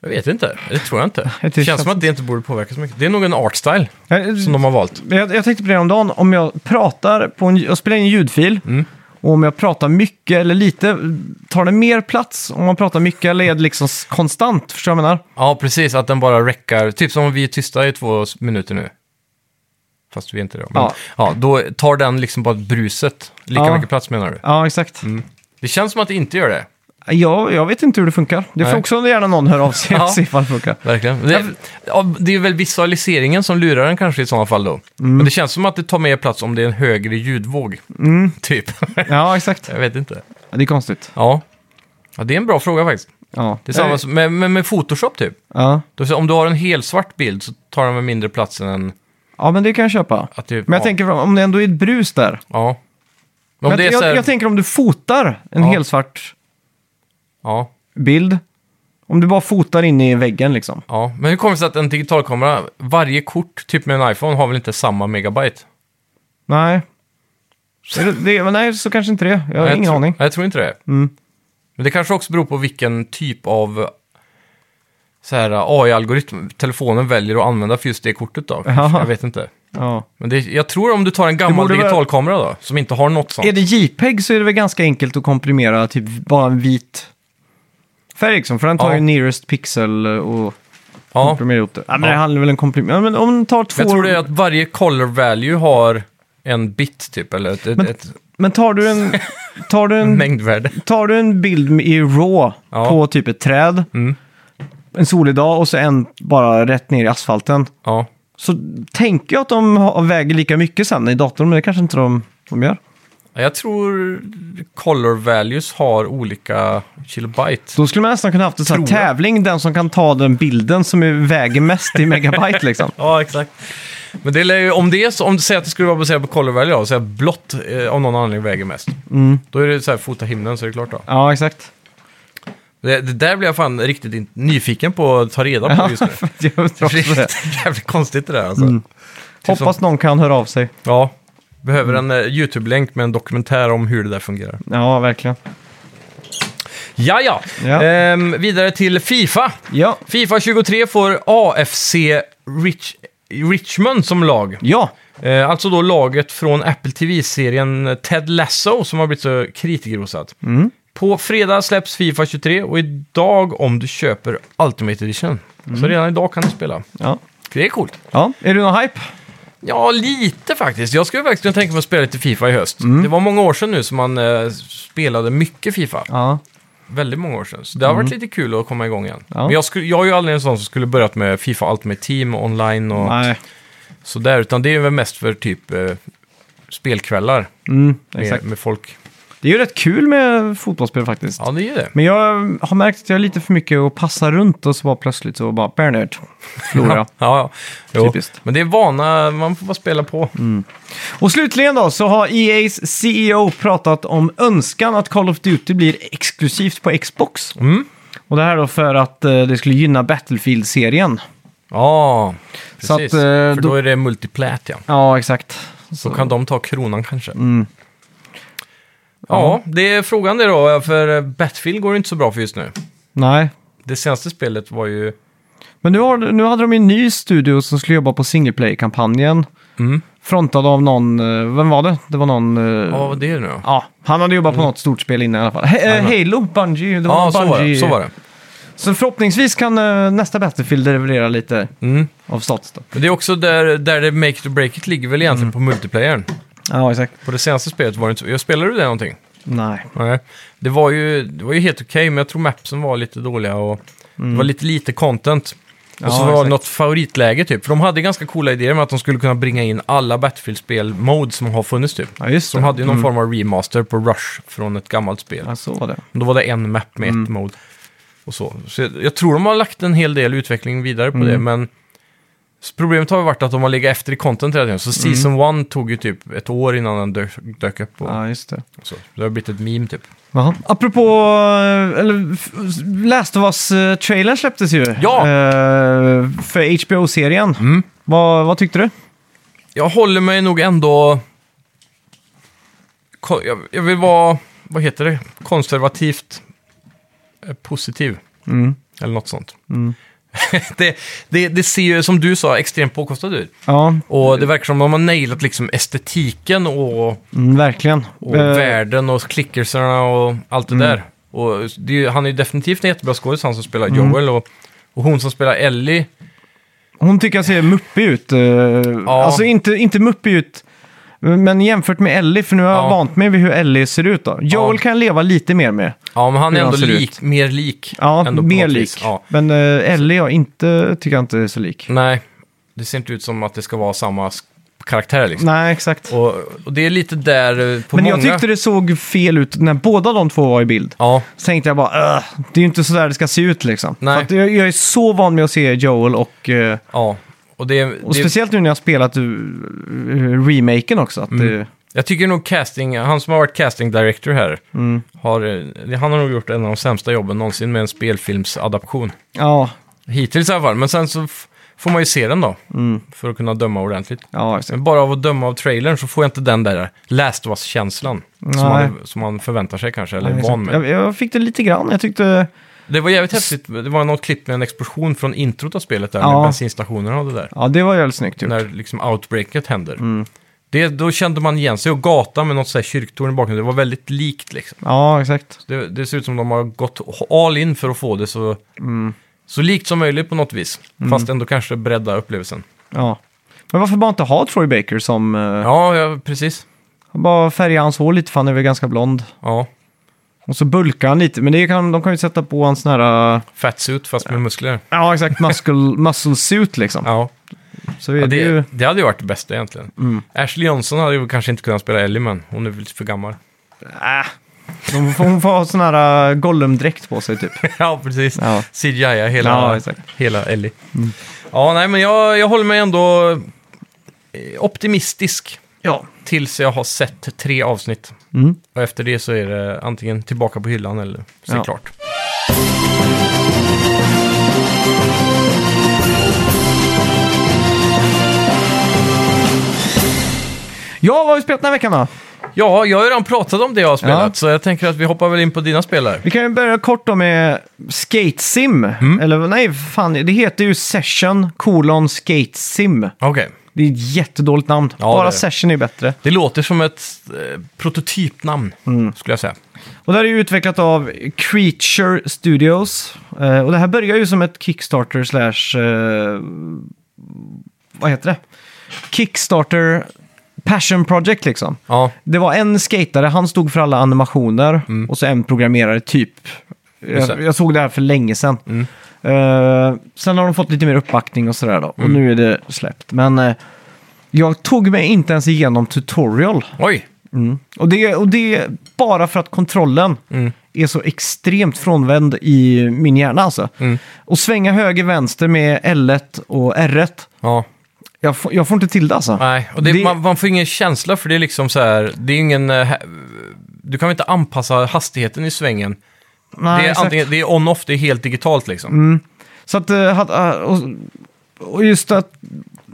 [SPEAKER 1] Jag vet inte, det tror jag inte.
[SPEAKER 2] Det
[SPEAKER 1] Det
[SPEAKER 2] känns
[SPEAKER 1] känns som att det inte borde påverka så mycket. Det är nog en artstyle som
[SPEAKER 2] Jag,
[SPEAKER 1] de har valt.
[SPEAKER 2] Eh, jag, jag tänkte på det om dagen, om jag pratar på en, jag spelar in en ljudfil,
[SPEAKER 1] Mm.
[SPEAKER 2] och om jag pratar mycket eller lite, tar det mer plats om man pratar mycket eller är det liksom s- konstant? Förstår du vad jag menar?
[SPEAKER 1] Ja, precis, att den bara räcker. Typ som om vi är tysta i två s- minuter nu. Fast vi är inte det. Men,
[SPEAKER 2] Ja.
[SPEAKER 1] ja. då tar den liksom bara bruset. Lika
[SPEAKER 2] Ja.
[SPEAKER 1] mycket plats menar du?
[SPEAKER 2] Ja, exakt.
[SPEAKER 1] Mm. Det känns som att det inte gör det.
[SPEAKER 2] Jag, jag vet inte hur det funkar. Det får
[SPEAKER 1] Nej.
[SPEAKER 2] också gärna någon höra av sig
[SPEAKER 1] Ja.
[SPEAKER 2] och se ifall det funkar.
[SPEAKER 1] Verkligen. Det, ja, det är väl visualiseringen som lurar den kanske i sådana fall då.
[SPEAKER 2] Mm.
[SPEAKER 1] Men det känns som att det tar mer plats om det är en högre ljudvåg.
[SPEAKER 2] Mm.
[SPEAKER 1] Typ.
[SPEAKER 2] Ja, exakt.
[SPEAKER 1] Jag vet inte.
[SPEAKER 2] Ja, Det är konstigt.
[SPEAKER 1] Ja. ja, det är en bra fråga faktiskt.
[SPEAKER 2] Ja. Eh,
[SPEAKER 1] Det är samma som med, med, med Photoshop typ.
[SPEAKER 2] ja.
[SPEAKER 1] Då, så om du har en helsvart bild så tar den väl mindre plats än en...
[SPEAKER 2] ja, men det kan jag köpa.
[SPEAKER 1] Att det,
[SPEAKER 2] Men jag
[SPEAKER 1] ja,
[SPEAKER 2] tänker om det ändå är ett brus där.
[SPEAKER 1] Ja. Men om
[SPEAKER 2] Men
[SPEAKER 1] det är
[SPEAKER 2] jag,
[SPEAKER 1] så här,
[SPEAKER 2] jag tänker om du fotar en
[SPEAKER 1] Ja.
[SPEAKER 2] helsvart
[SPEAKER 1] ja,
[SPEAKER 2] bild. Om du bara fotar in i väggen liksom.
[SPEAKER 1] ja. Men hur kommer det sig att en digitalkamera, varje kort, typ med en iPhone, har väl inte samma megabyte?
[SPEAKER 2] Nej. Är det, det, men nej, så kanske inte det. Jag har
[SPEAKER 1] Nej,
[SPEAKER 2] ingen
[SPEAKER 1] tror,
[SPEAKER 2] aning. Mm.
[SPEAKER 1] Nej, jag tror inte det. Men det kanske också beror på vilken typ av eh, så här, AI-algoritm telefonen väljer att använda för just det kortet då.
[SPEAKER 2] Jaha.
[SPEAKER 1] Jag vet inte.
[SPEAKER 2] Ja.
[SPEAKER 1] Men det, jag tror om du tar en gammal
[SPEAKER 2] borde väl-
[SPEAKER 1] digitalkamera då, som inte har något sånt.
[SPEAKER 2] Är det JPEG så är det väl ganska enkelt att komprimera typ bara en vit färg liksom. För den tar
[SPEAKER 1] Ja.
[SPEAKER 2] ju nearest pixel och
[SPEAKER 1] ja.
[SPEAKER 2] komprimerar ihop det. Ja, men
[SPEAKER 1] Ja.
[SPEAKER 2] det handlar väl om komprimering. Ja, men om den tar två...
[SPEAKER 1] Jag tror det är att varje color value har en bit typ, eller ett,
[SPEAKER 2] Men-
[SPEAKER 1] ett,
[SPEAKER 2] Men tar du en... Tar du
[SPEAKER 1] ett
[SPEAKER 2] en,
[SPEAKER 1] mängdvärde.
[SPEAKER 2] tar du en bild i RAW
[SPEAKER 1] Ja. Mm.
[SPEAKER 2] på typ ett träd. en solig dag och så en bara rätt ner i asfalten.
[SPEAKER 1] Ja.
[SPEAKER 2] Så tänker jag att de har- väger lika mycket sen i datorn, men det kanske inte de, de gör.
[SPEAKER 1] Jag tror color values har olika kilobyte.
[SPEAKER 2] Då skulle man nästan kunna haft en sån här
[SPEAKER 1] Tror jag.
[SPEAKER 2] tävling, den som kan ta den bilden som är- väger mest i megabyte liksom.
[SPEAKER 1] Ja, exakt. Men det lär ju, om det är så, om du säger att det skulle vara baserat på color value, ja, så här blått eh, av någon anledning väger mest.
[SPEAKER 2] Mm.
[SPEAKER 1] Då är det så här fota himlen så är det klart då.
[SPEAKER 2] Ja, exakt.
[SPEAKER 1] Det, det där blir jag fan riktigt in, nyfiken på att ta reda på
[SPEAKER 2] Ja,
[SPEAKER 1] just nu.
[SPEAKER 2] jag undrar också
[SPEAKER 1] För det
[SPEAKER 2] det. Mm.
[SPEAKER 1] är typ jävligt konstigt det där alltså. Typ som-
[SPEAKER 2] Hoppas någon kan höra av sig.
[SPEAKER 1] Ja, behöver en eh, YouTube-länk med en dokumentär om hur det där fungerar.
[SPEAKER 2] Ja, verkligen.
[SPEAKER 1] Ja, ja.
[SPEAKER 2] Ja.
[SPEAKER 1] Ehm, vidare till Fifa.
[SPEAKER 2] Ja.
[SPEAKER 1] Fifa 23 får AFC Rich, Richmond som lag.
[SPEAKER 2] Ja,
[SPEAKER 1] Eh, alltså då laget från Apple TV-serien Ted Lasso som har blivit så kritikerrosat. På fredag släpps Fifa 23 och idag om du köper Ultimate Edition. Så redan idag kan du spela.
[SPEAKER 2] ja.
[SPEAKER 1] Mm. Det är coolt.
[SPEAKER 2] ja. Är du någon hype?
[SPEAKER 1] Ja, lite faktiskt. Jag skulle faktiskt kunna tänka mig att spela lite Fifa i höst. Det var många år sedan nu som man eh, spelade mycket Fifa.
[SPEAKER 2] Ja.
[SPEAKER 1] Väldigt många år sedan. Så det har varit lite kul att komma igång igen.
[SPEAKER 2] Mm. Ja.
[SPEAKER 1] Men jag, skulle, jag är ju aldrig en sån som skulle börjat med Fifa Ultimate Team och online och
[SPEAKER 2] Nej,
[SPEAKER 1] sådär. Utan det är väl mest för typ eh, spelkvällar
[SPEAKER 2] mm,
[SPEAKER 1] med,
[SPEAKER 2] exakt.
[SPEAKER 1] med folk.
[SPEAKER 2] Det är ju rätt kul med fotbollsspel faktiskt.
[SPEAKER 1] Ja, det är ju det.
[SPEAKER 2] Men jag har märkt att jag är lite för mycket att passa runt och så bara plötsligt så bara Bernard förlorar jag.
[SPEAKER 1] Ja, ja. Jo.
[SPEAKER 2] Typiskt. Mm.
[SPEAKER 1] Men det är vana, man får bara spela på.
[SPEAKER 2] Och slutligen då så har E EA's CEO pratat om önskan att Call of Duty blir exklusivt på Xbox.
[SPEAKER 1] Mm.
[SPEAKER 2] Och det här då för att eh, det skulle gynna Battlefield-serien.
[SPEAKER 1] Ja, precis.
[SPEAKER 2] Så att, eh,
[SPEAKER 1] för då
[SPEAKER 2] då- Mm.
[SPEAKER 1] är det multiplat, ja.
[SPEAKER 2] Ja, exakt.
[SPEAKER 1] Så kan de ta kronan kanske.
[SPEAKER 2] Mm.
[SPEAKER 1] Ja, det är frågan det då. eh, För Battlefield går ju inte så bra för just nu.
[SPEAKER 2] Nej.
[SPEAKER 1] Det senaste spelet var ju...
[SPEAKER 2] Men nu, har, nu hade de ju en ny studio som skulle jobba på single play-kampanjen.
[SPEAKER 1] Mm.
[SPEAKER 2] Frontad av någon, eh, vem var det? Det var någon... eh,
[SPEAKER 1] Ja, vad det är nu då?
[SPEAKER 2] Ja, han hade jobbat på något stort spel innan i alla fall. He- eh,
[SPEAKER 1] Jajamän.
[SPEAKER 2] Halo, Bungie, det var
[SPEAKER 1] Ja,
[SPEAKER 2] någon
[SPEAKER 1] så var det.
[SPEAKER 2] Bungie.
[SPEAKER 1] Så var det.
[SPEAKER 2] Så förhoppningsvis kan eh, nästa Battlefield leverera lite
[SPEAKER 1] Mm.
[SPEAKER 2] av stats då.
[SPEAKER 1] Men det är också där, där det make it or break it ligger väl egentligen
[SPEAKER 2] Mm.
[SPEAKER 1] på multiplayern.
[SPEAKER 2] Ja, exakt.
[SPEAKER 1] På det senaste spelet var det inte så. Jag spelade du det någonting?
[SPEAKER 2] Nej.
[SPEAKER 1] Nej. Det var ju, det var ju helt okej, men jag tror mapsen var lite dåliga och det var lite lite content. Och
[SPEAKER 2] Mm. Ja,
[SPEAKER 1] så var det
[SPEAKER 2] exakt.
[SPEAKER 1] något favoritläge typ. För de hade ganska coola idéer med att de skulle kunna bringa in alla Battlefield-spel-mode som har funnits typ.
[SPEAKER 2] Ja, just Mm.
[SPEAKER 1] Så de hade ju någon form av remaster på Rush från ett gammalt spel.
[SPEAKER 2] Ja, så var det.
[SPEAKER 1] Men Då var det en map med ett mode. Och så. så jag, jag tror de har lagt en hel del utveckling vidare på det, men s- problemet har ju varit att de har legat efter i content hela tiden. Så Season 1 tog ju typ ett år innan den dök, dök upp. Och,
[SPEAKER 2] Ja, just det.
[SPEAKER 1] så. Det har blivit ett meme typ.
[SPEAKER 2] Jaha. Apropå, eh, eller f- Last of Us-trailern släpptes ju.
[SPEAKER 1] Ja! Mm.
[SPEAKER 2] Eh, för HBO-serien. Vad, vad tyckte du?
[SPEAKER 1] Jag håller mig nog ändå... Ko- Jag, jag vill vara, vad heter det, konservativt eh, positiv. Eller något sånt. det, det, det ser ju, som du sa, extremt påkostat ut.
[SPEAKER 2] Ja,
[SPEAKER 1] Och det verkar som de har nailat liksom estetiken och,
[SPEAKER 2] mm, verkligen.
[SPEAKER 1] och
[SPEAKER 2] Eh, Mm.
[SPEAKER 1] världen och klickerserna och allt det där. Och det är, ju- han är ju definitivt en jättebra skådis, han som spelar
[SPEAKER 2] Mm.
[SPEAKER 1] Joel. Och, och hon som spelar Ellie,
[SPEAKER 2] Hon tycker jag ser muppig ut. eh, Alltså inte, inte muppig ut, men jämfört med Ellie, för nu har jag
[SPEAKER 1] Ja.
[SPEAKER 2] vant mig vid hur Ellie ser ut. Då. Joel
[SPEAKER 1] Ja.
[SPEAKER 2] kan jag leva lite mer med.
[SPEAKER 1] ja men han är
[SPEAKER 2] Hur han
[SPEAKER 1] ändå
[SPEAKER 2] ser
[SPEAKER 1] lik, mer lik.
[SPEAKER 2] Ja,
[SPEAKER 1] ändå på
[SPEAKER 2] mer
[SPEAKER 1] något
[SPEAKER 2] lik.
[SPEAKER 1] vis. Ja. Mm.
[SPEAKER 2] Men eh, Ellie jag inte, tycker jag inte är så lik.
[SPEAKER 1] Nej, det ser inte ut som att det ska vara samma sk- karaktär liksom.
[SPEAKER 2] Nej, exakt.
[SPEAKER 1] Och, och det är lite där eh, på
[SPEAKER 2] Men
[SPEAKER 1] många...
[SPEAKER 2] jag tyckte det såg fel ut när båda de två var i bild.
[SPEAKER 1] Ja,
[SPEAKER 2] Så tänkte jag bara, "Ugh, det är ju inte så där det ska se ut liksom.
[SPEAKER 1] Nej.
[SPEAKER 2] För att jag, jag är så van med att se Joel och, eh,
[SPEAKER 1] ja. Och det,
[SPEAKER 2] och
[SPEAKER 1] det,
[SPEAKER 2] speciellt nu när jag har spelat eh, remaken också. Att
[SPEAKER 1] Mm.
[SPEAKER 2] eh, det,
[SPEAKER 1] jag tycker nog casting, han som har varit casting director här,
[SPEAKER 2] Mm.
[SPEAKER 1] har, eh, han har nog gjort en av de sämsta jobben någonsin med en spelfilmsadaption.
[SPEAKER 2] ja,
[SPEAKER 1] Hittills i alla fall, men sen så f- får man ju se den då,
[SPEAKER 2] Mm.
[SPEAKER 1] för att kunna döma ordentligt.
[SPEAKER 2] ja, exakt.
[SPEAKER 1] Men bara av att döma av trailern så får jag inte den där last was känslan som
[SPEAKER 2] Nej.
[SPEAKER 1] man, som man förväntar sig kanske, eller
[SPEAKER 2] Ja,
[SPEAKER 1] är
[SPEAKER 2] exakt.
[SPEAKER 1] van med.
[SPEAKER 2] Jag, jag fick det lite grann. Jag tyckte...
[SPEAKER 1] Det var jävligt häftigt. Det var något klipp med en explosion från introt av spelet där, med
[SPEAKER 2] Ja.
[SPEAKER 1] bensinstationerna och det där.
[SPEAKER 2] Ja, det var jävligt snyggt gjort.
[SPEAKER 1] När liksom outbreaket händer.
[SPEAKER 2] Mm.
[SPEAKER 1] Det, då kände man igen sig och gatan med något så här kyrktorn i bakgrunden. Det var väldigt likt liksom.
[SPEAKER 2] Ja, exakt.
[SPEAKER 1] Det, det ser ut som de har gått all in för att få det så,
[SPEAKER 2] Mm.
[SPEAKER 1] så likt som möjligt på något vis. Fast ändå kanske bredda upplevelsen.
[SPEAKER 2] Ja. Men varför bara inte ha Troy Baker som... eh,
[SPEAKER 1] Ja, ja precis.
[SPEAKER 2] Bara färga hans hår lite för han är väl ganska blond.
[SPEAKER 1] Ja.
[SPEAKER 2] Och så bulkar han lite, men det kan, de kan ju sätta på en sån här... äh,
[SPEAKER 1] Fatsuit fast med muskler.
[SPEAKER 2] Ja, exakt. Muscle, muscle suit liksom.
[SPEAKER 1] Ja,
[SPEAKER 2] Så är
[SPEAKER 1] ja
[SPEAKER 2] det,
[SPEAKER 1] det,
[SPEAKER 2] ju... Mm.
[SPEAKER 1] det hade ju varit det bästa egentligen. Ashley Johnson hade ju kanske inte kunnat spela Ellie, men hon är väl lite för gammal.
[SPEAKER 2] Äh. De får, hon får ha sån här äh, Gollum-dräkt på sig typ.
[SPEAKER 1] ja, precis.
[SPEAKER 2] Ja.
[SPEAKER 1] CGI, hela,
[SPEAKER 2] Ja, exakt. Mm.
[SPEAKER 1] hela Ellie. Ja, nej, men jag, jag håller mig ändå eh, optimistisk
[SPEAKER 2] Ja.
[SPEAKER 1] tills jag har sett tre avsnitt.
[SPEAKER 2] Mm.
[SPEAKER 1] Och efter det så är det antingen tillbaka på hyllan eller se
[SPEAKER 2] Ja.
[SPEAKER 1] klart.
[SPEAKER 2] Ja, vad har vi spelat den här veckan då?
[SPEAKER 1] Ja, jag har ju redan pratat om det jag har spelat,
[SPEAKER 2] Ja.
[SPEAKER 1] så jag tänker att vi hoppar väl in på dina spel här.
[SPEAKER 2] Vi kan ju börja kort då med Skate Sim. Eller nej, fan, det heter ju Session kolon Skate Sim.
[SPEAKER 1] Okej.
[SPEAKER 2] Det är ett jättedåligt namn.
[SPEAKER 1] Ja, det är
[SPEAKER 2] Bara
[SPEAKER 1] det.
[SPEAKER 2] Session är bättre.
[SPEAKER 1] Det låter som ett eh, prototypnamn,
[SPEAKER 2] Mm.
[SPEAKER 1] skulle jag säga.
[SPEAKER 2] Och det här är ju utvecklat av Creature Studios. Eh, och det här börjar ju som ett Kickstarter slash... eh, vad heter det? Kickstarter Passion Project liksom.
[SPEAKER 1] Ja,
[SPEAKER 2] Det var en skatare, han stod för alla animationer. Och så en programmerare, typ.
[SPEAKER 1] Mm. Just det. Mm.
[SPEAKER 2] Jag, jag såg det här för länge sedan. Eh, sen har de fått lite mer uppbackning och sådär då. Och
[SPEAKER 1] Mm.
[SPEAKER 2] nu är det släppt. Men eh, jag tog mig inte ens igenom tutorial.
[SPEAKER 1] oj.
[SPEAKER 2] Mm. Och det, och det är bara för att kontrollen
[SPEAKER 1] Mm.
[SPEAKER 2] är så extremt frånvänd i min hjärna alltså.
[SPEAKER 1] Mm.
[SPEAKER 2] Och svänga höger, vänster med L1 och R1.
[SPEAKER 1] Ja,
[SPEAKER 2] Jag, får- jag får inte till det alltså.
[SPEAKER 1] nej. Och det,
[SPEAKER 2] Det-
[SPEAKER 1] Man, man får ingen känsla för det är liksom så här, det är ingen... eh, ha- Du kan väl inte anpassa hastigheten i svängen.
[SPEAKER 2] Nej,
[SPEAKER 1] det är
[SPEAKER 2] exakt. Mm.
[SPEAKER 1] antingen, det är on-off, det är helt digitalt liksom.
[SPEAKER 2] Så att, eh, hat- eh, och, och just att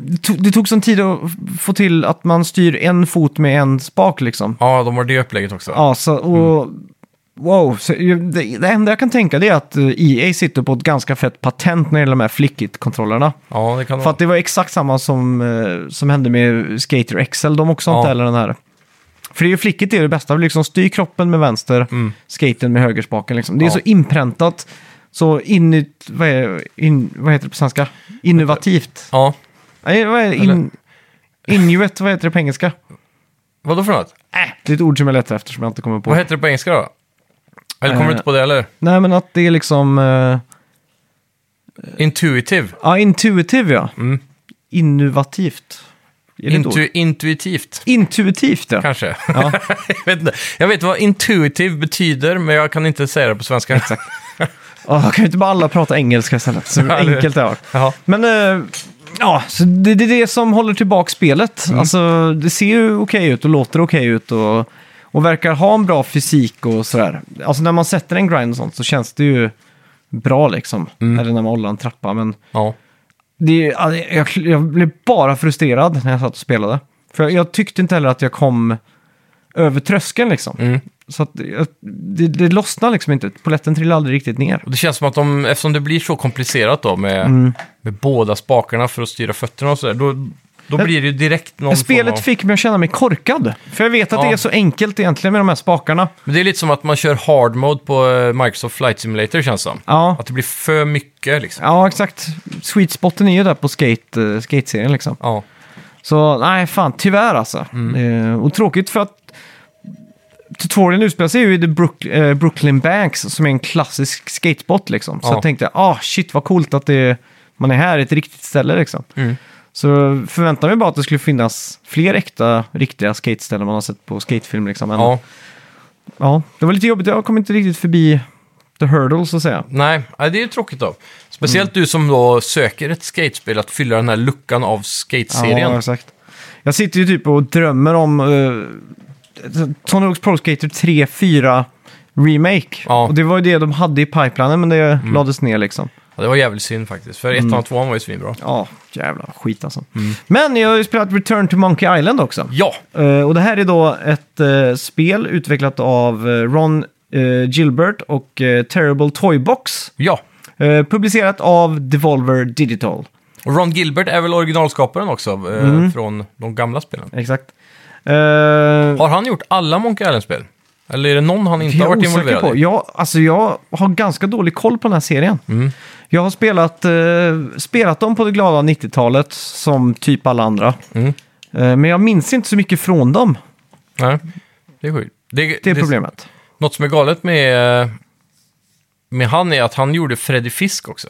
[SPEAKER 2] det tog- det tog sån tid att få till att man styr en fot med en spak liksom.
[SPEAKER 1] Ja, de har det upplägget också.
[SPEAKER 2] Ja, så, och,
[SPEAKER 1] Mm.
[SPEAKER 2] wow, så, ju- det, det enda jag kan tänka det är att eh, EA sitter på ett ganska fett patent när det gäller de här flickit-kontrollerna.
[SPEAKER 1] Ja, det kan
[SPEAKER 2] För
[SPEAKER 1] de.
[SPEAKER 2] att det var exakt samma som, eh, som hände med Skater XL. De också
[SPEAKER 1] Ja.
[SPEAKER 2] inte heller den här. För det är ju flickigt det är det bästa. Vi liksom styr kroppen med vänster, skaten med högerspaken. Liksom. Det är
[SPEAKER 1] Mm. Ja.
[SPEAKER 2] så inpräntat. Så inut, vad, är, in, vad heter det på svenska? Innovativt.
[SPEAKER 1] Ja,
[SPEAKER 2] Nej, vad är det? in, Inuit, vad heter det på engelska?
[SPEAKER 1] vadå för något?
[SPEAKER 2] Äh, det är ett ord som jag letar efter som jag inte kommer på.
[SPEAKER 1] Vad heter det på engelska då? Eller kommer
[SPEAKER 2] Eh.
[SPEAKER 1] du inte på det eller?
[SPEAKER 2] Nej, men att det är liksom... eh,
[SPEAKER 1] Intuitive.
[SPEAKER 2] ja, intuitiv ja.
[SPEAKER 1] Mm.
[SPEAKER 2] Innovativt. Är det ett ord?
[SPEAKER 1] Intu- intuitivt,
[SPEAKER 2] Intuitivt ja.
[SPEAKER 1] kanske. jag, vet inte. jag vet vad intuitive betyder, men jag kan inte säga det på svenska. Exakt.
[SPEAKER 2] Oh, kan ju inte bara alla prata engelska istället? Så
[SPEAKER 1] Ja, det-
[SPEAKER 2] enkelt det var.
[SPEAKER 1] Ja.
[SPEAKER 2] Men eh, ja, så det, det är det som håller tillbaka spelet.
[SPEAKER 1] Mm.
[SPEAKER 2] Alltså, det ser ju okej ut och låter okej ut och, och verkar ha en bra fysik och sådär. Alltså när man sätter en grind och sånt så känns det ju bra liksom.
[SPEAKER 1] Mm.
[SPEAKER 2] Eller när man håller en trappa. Men
[SPEAKER 1] ja.
[SPEAKER 2] det, är- alltså, jag, jag blev bara frustrerad när jag satt och spelade. För jag, jag tyckte inte heller att jag kom över tröskeln liksom.
[SPEAKER 1] Mm.
[SPEAKER 2] Så att jag, det, det lossnade liksom inte. Poletten trillade aldrig riktigt ner.
[SPEAKER 1] Och det känns som att de, eftersom det blir så komplicerat då med,
[SPEAKER 2] Mm.
[SPEAKER 1] med båda spakarna för att styra fötterna och sådär, då, då blir det ju direkt någon form
[SPEAKER 2] Spelet
[SPEAKER 1] av...
[SPEAKER 2] fick mig att känna mig korkad. För jag vet att
[SPEAKER 1] Ja.
[SPEAKER 2] det är så enkelt egentligen med de här spakarna.
[SPEAKER 1] Men det är lite som att man kör hard mode på eh, Microsoft Flight Simulator känns det som.
[SPEAKER 2] Ja,
[SPEAKER 1] Att det blir för mycket liksom.
[SPEAKER 2] ja exakt. Sweet spoten är ju där på skate, eh, skate-serien liksom.
[SPEAKER 1] Ja.
[SPEAKER 2] Så nej, fan, tyvärr alltså.
[SPEAKER 1] Mm.
[SPEAKER 2] Eh, och tråkigt för att tutorialen utspelar sig ju i The Brook, eh, Brooklyn Banks som är en klassisk skatespot liksom. Så
[SPEAKER 1] Ja.
[SPEAKER 2] jag tänkte, ah shit vad coolt att det, man är här i ett riktigt ställe liksom.
[SPEAKER 1] Mm.
[SPEAKER 2] Så förväntade mig bara att det skulle finnas fler äkta, riktiga skateställen man har sett på skatefilm liksom. än-
[SPEAKER 1] ja.
[SPEAKER 2] Ja, det var lite jobbigt. Jag kom inte riktigt förbi the hurdle så att säga.
[SPEAKER 1] Nej, nej, det är ju tråkigt då. Speciellt
[SPEAKER 2] Mm.
[SPEAKER 1] du som då söker ett skatespel att fylla den här luckan av skateserien.
[SPEAKER 2] Ja, exakt. Jag sitter ju typ och drömmer om uh, Tony Hawk's Pro Skater 3, 4 Remake.
[SPEAKER 1] Ja.
[SPEAKER 2] Och det var ju det de hade i pipelinen, men det lades ner liksom.
[SPEAKER 1] Ja, det var jävligt synd faktiskt, för
[SPEAKER 2] Mm.
[SPEAKER 1] ettan och tvåan var ju svinbra.
[SPEAKER 2] Ja, jävla skit alltså. Men jag har ju spelat Return to Monkey Island också.
[SPEAKER 1] Ja,
[SPEAKER 2] Eh, och det här är då ett eh, spel utvecklat av eh, Ron eh, Gilbert och eh, Terrible Toybox.
[SPEAKER 1] ja.
[SPEAKER 2] Eh, publicerat av Devolver Digital.
[SPEAKER 1] Och Ron Gilbert är väl originalskaparen också, eh,
[SPEAKER 2] Mm.
[SPEAKER 1] från de gamla spelen.
[SPEAKER 2] Exakt. Eh,
[SPEAKER 1] Har han gjort alla Monkey Island-spel? Eller är det någon han inte
[SPEAKER 2] Jag
[SPEAKER 1] har
[SPEAKER 2] är
[SPEAKER 1] varit
[SPEAKER 2] osäker
[SPEAKER 1] involverad
[SPEAKER 2] på.
[SPEAKER 1] i?
[SPEAKER 2] Jag, alltså jag har ganska dålig koll på den här serien.
[SPEAKER 1] Mm.
[SPEAKER 2] Jag har spelat, eh, spelat dem på det glada 90-talet som typ alla andra.
[SPEAKER 1] Mm.
[SPEAKER 2] Eh, men jag minns inte så mycket från dem.
[SPEAKER 1] Nej, det är sjukt.
[SPEAKER 2] Det är problemet.
[SPEAKER 1] Något som är galet med, med han är att han gjorde Freddy Fisk också.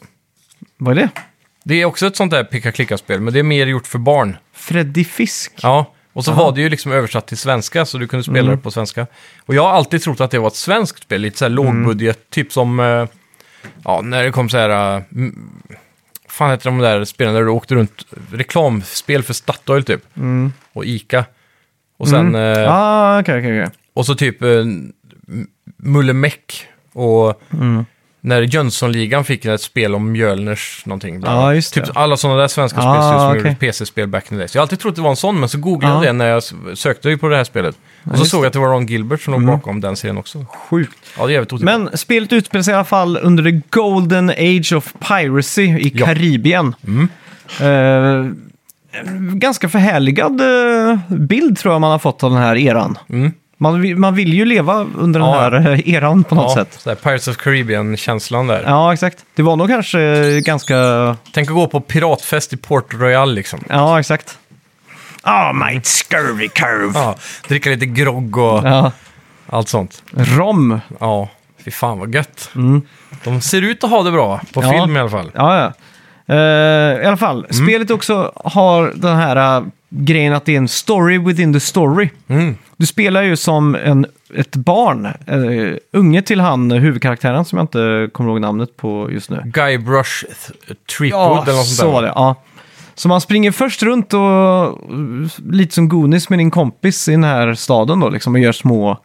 [SPEAKER 2] Vad är det?
[SPEAKER 1] Det är också ett sånt där picka-klicka-spel, men det är mer gjort för barn.
[SPEAKER 2] Freddy Fisk?
[SPEAKER 1] Ja, och så var det ju liksom översatt till svenska, så du kunde spela det på svenska. Och jag har alltid trott att det var ett svenskt spel, lite så här lågbudget, typ som... eh, Ja, när det kom så här... eh, m- fan heter de där spelen där du åkte runt? Reklamspel för Statoil typ. Och Ica. Och sen... eh,
[SPEAKER 2] Ah, okej, okej, okej.
[SPEAKER 1] Och så typ eh, M- Mulle Meck och
[SPEAKER 2] Mm.
[SPEAKER 1] när Jönssonligan fick ett spel om Mjölners någonting. bland
[SPEAKER 2] Ja,
[SPEAKER 1] annat.
[SPEAKER 2] just det.
[SPEAKER 1] Typ alla sådana där svenska
[SPEAKER 2] Ah,
[SPEAKER 1] spel som gjorde
[SPEAKER 2] okej.
[SPEAKER 1] PC-spel back in the days. Jag har alltid trott det var en sån, men så googlade jag
[SPEAKER 2] Ja.
[SPEAKER 1] det när jag s- sökte ju på det här spelet. Och så
[SPEAKER 2] just
[SPEAKER 1] såg jag att det var Ron Gilbert som låg bakom den serien också.
[SPEAKER 2] Sjukt.
[SPEAKER 1] Ja, det är jävligt otippat.
[SPEAKER 2] Men spelet utspelar sig i alla fall under the golden age of piracy i
[SPEAKER 1] Ja. Mm.
[SPEAKER 2] Karibien. Eh, ganska förhärligad eh, bild tror jag man har fått av den här eran.
[SPEAKER 1] Mm.
[SPEAKER 2] Man, vi- man vill ju leva under den
[SPEAKER 1] Ja.
[SPEAKER 2] här eh, eran på något
[SPEAKER 1] ja,
[SPEAKER 2] sätt.
[SPEAKER 1] sådär Pirates of Caribbean-känslan där.
[SPEAKER 2] Ja, exakt. Det var nog kanske eh, ganska...
[SPEAKER 1] Tänk att gå på piratfest i Port Royal liksom.
[SPEAKER 2] Ja, exakt. Ah, my scurvy curve!
[SPEAKER 1] Ja, dricka lite grogg och
[SPEAKER 2] Ja.
[SPEAKER 1] allt sånt.
[SPEAKER 2] Rom.
[SPEAKER 1] Ja, fy fan vad gött. De ser ut att ha det bra, på
[SPEAKER 2] Mm. Ja.
[SPEAKER 1] film i alla fall. Mm.
[SPEAKER 2] Ja, ja. Eh, I alla fall, spelet också har den här eh, grejen att det är en story within the story.
[SPEAKER 1] Mm.
[SPEAKER 2] Du spelar ju som en, ett barn, eh, unge till han eh, huvudkaraktären som jag inte kommer ihåg namnet på just nu.
[SPEAKER 1] Guybrush th- Threepwood
[SPEAKER 2] Ja,
[SPEAKER 1] eller något sånt
[SPEAKER 2] så
[SPEAKER 1] där.
[SPEAKER 2] var det. Ja. Så man springer först runt och eh, lite som Goonies med din kompis i den här staden då liksom och gör små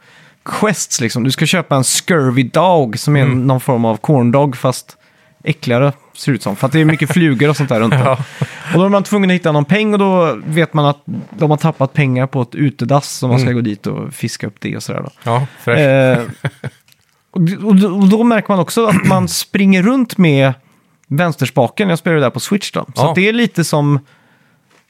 [SPEAKER 2] quests liksom. Du ska köpa en scurvy dog som är en-
[SPEAKER 1] Mm.
[SPEAKER 2] någon form av corndog fast äckligare ser det ut som. För att det är mycket flugor och sånt där runt om.
[SPEAKER 1] Ja.
[SPEAKER 2] Och då är man tvungen att hitta någon peng och då vet man att de har tappat pengar på ett utedass så man ska
[SPEAKER 1] Mm.
[SPEAKER 2] gå dit och fiska upp det och sådär då.
[SPEAKER 1] Ja, fräscht.
[SPEAKER 2] Eh, och, och, då- och då märker man också att man springer runt med vänsterspaken. Jag spelar ju där på Switch då. Så
[SPEAKER 1] Ja.
[SPEAKER 2] att det är lite som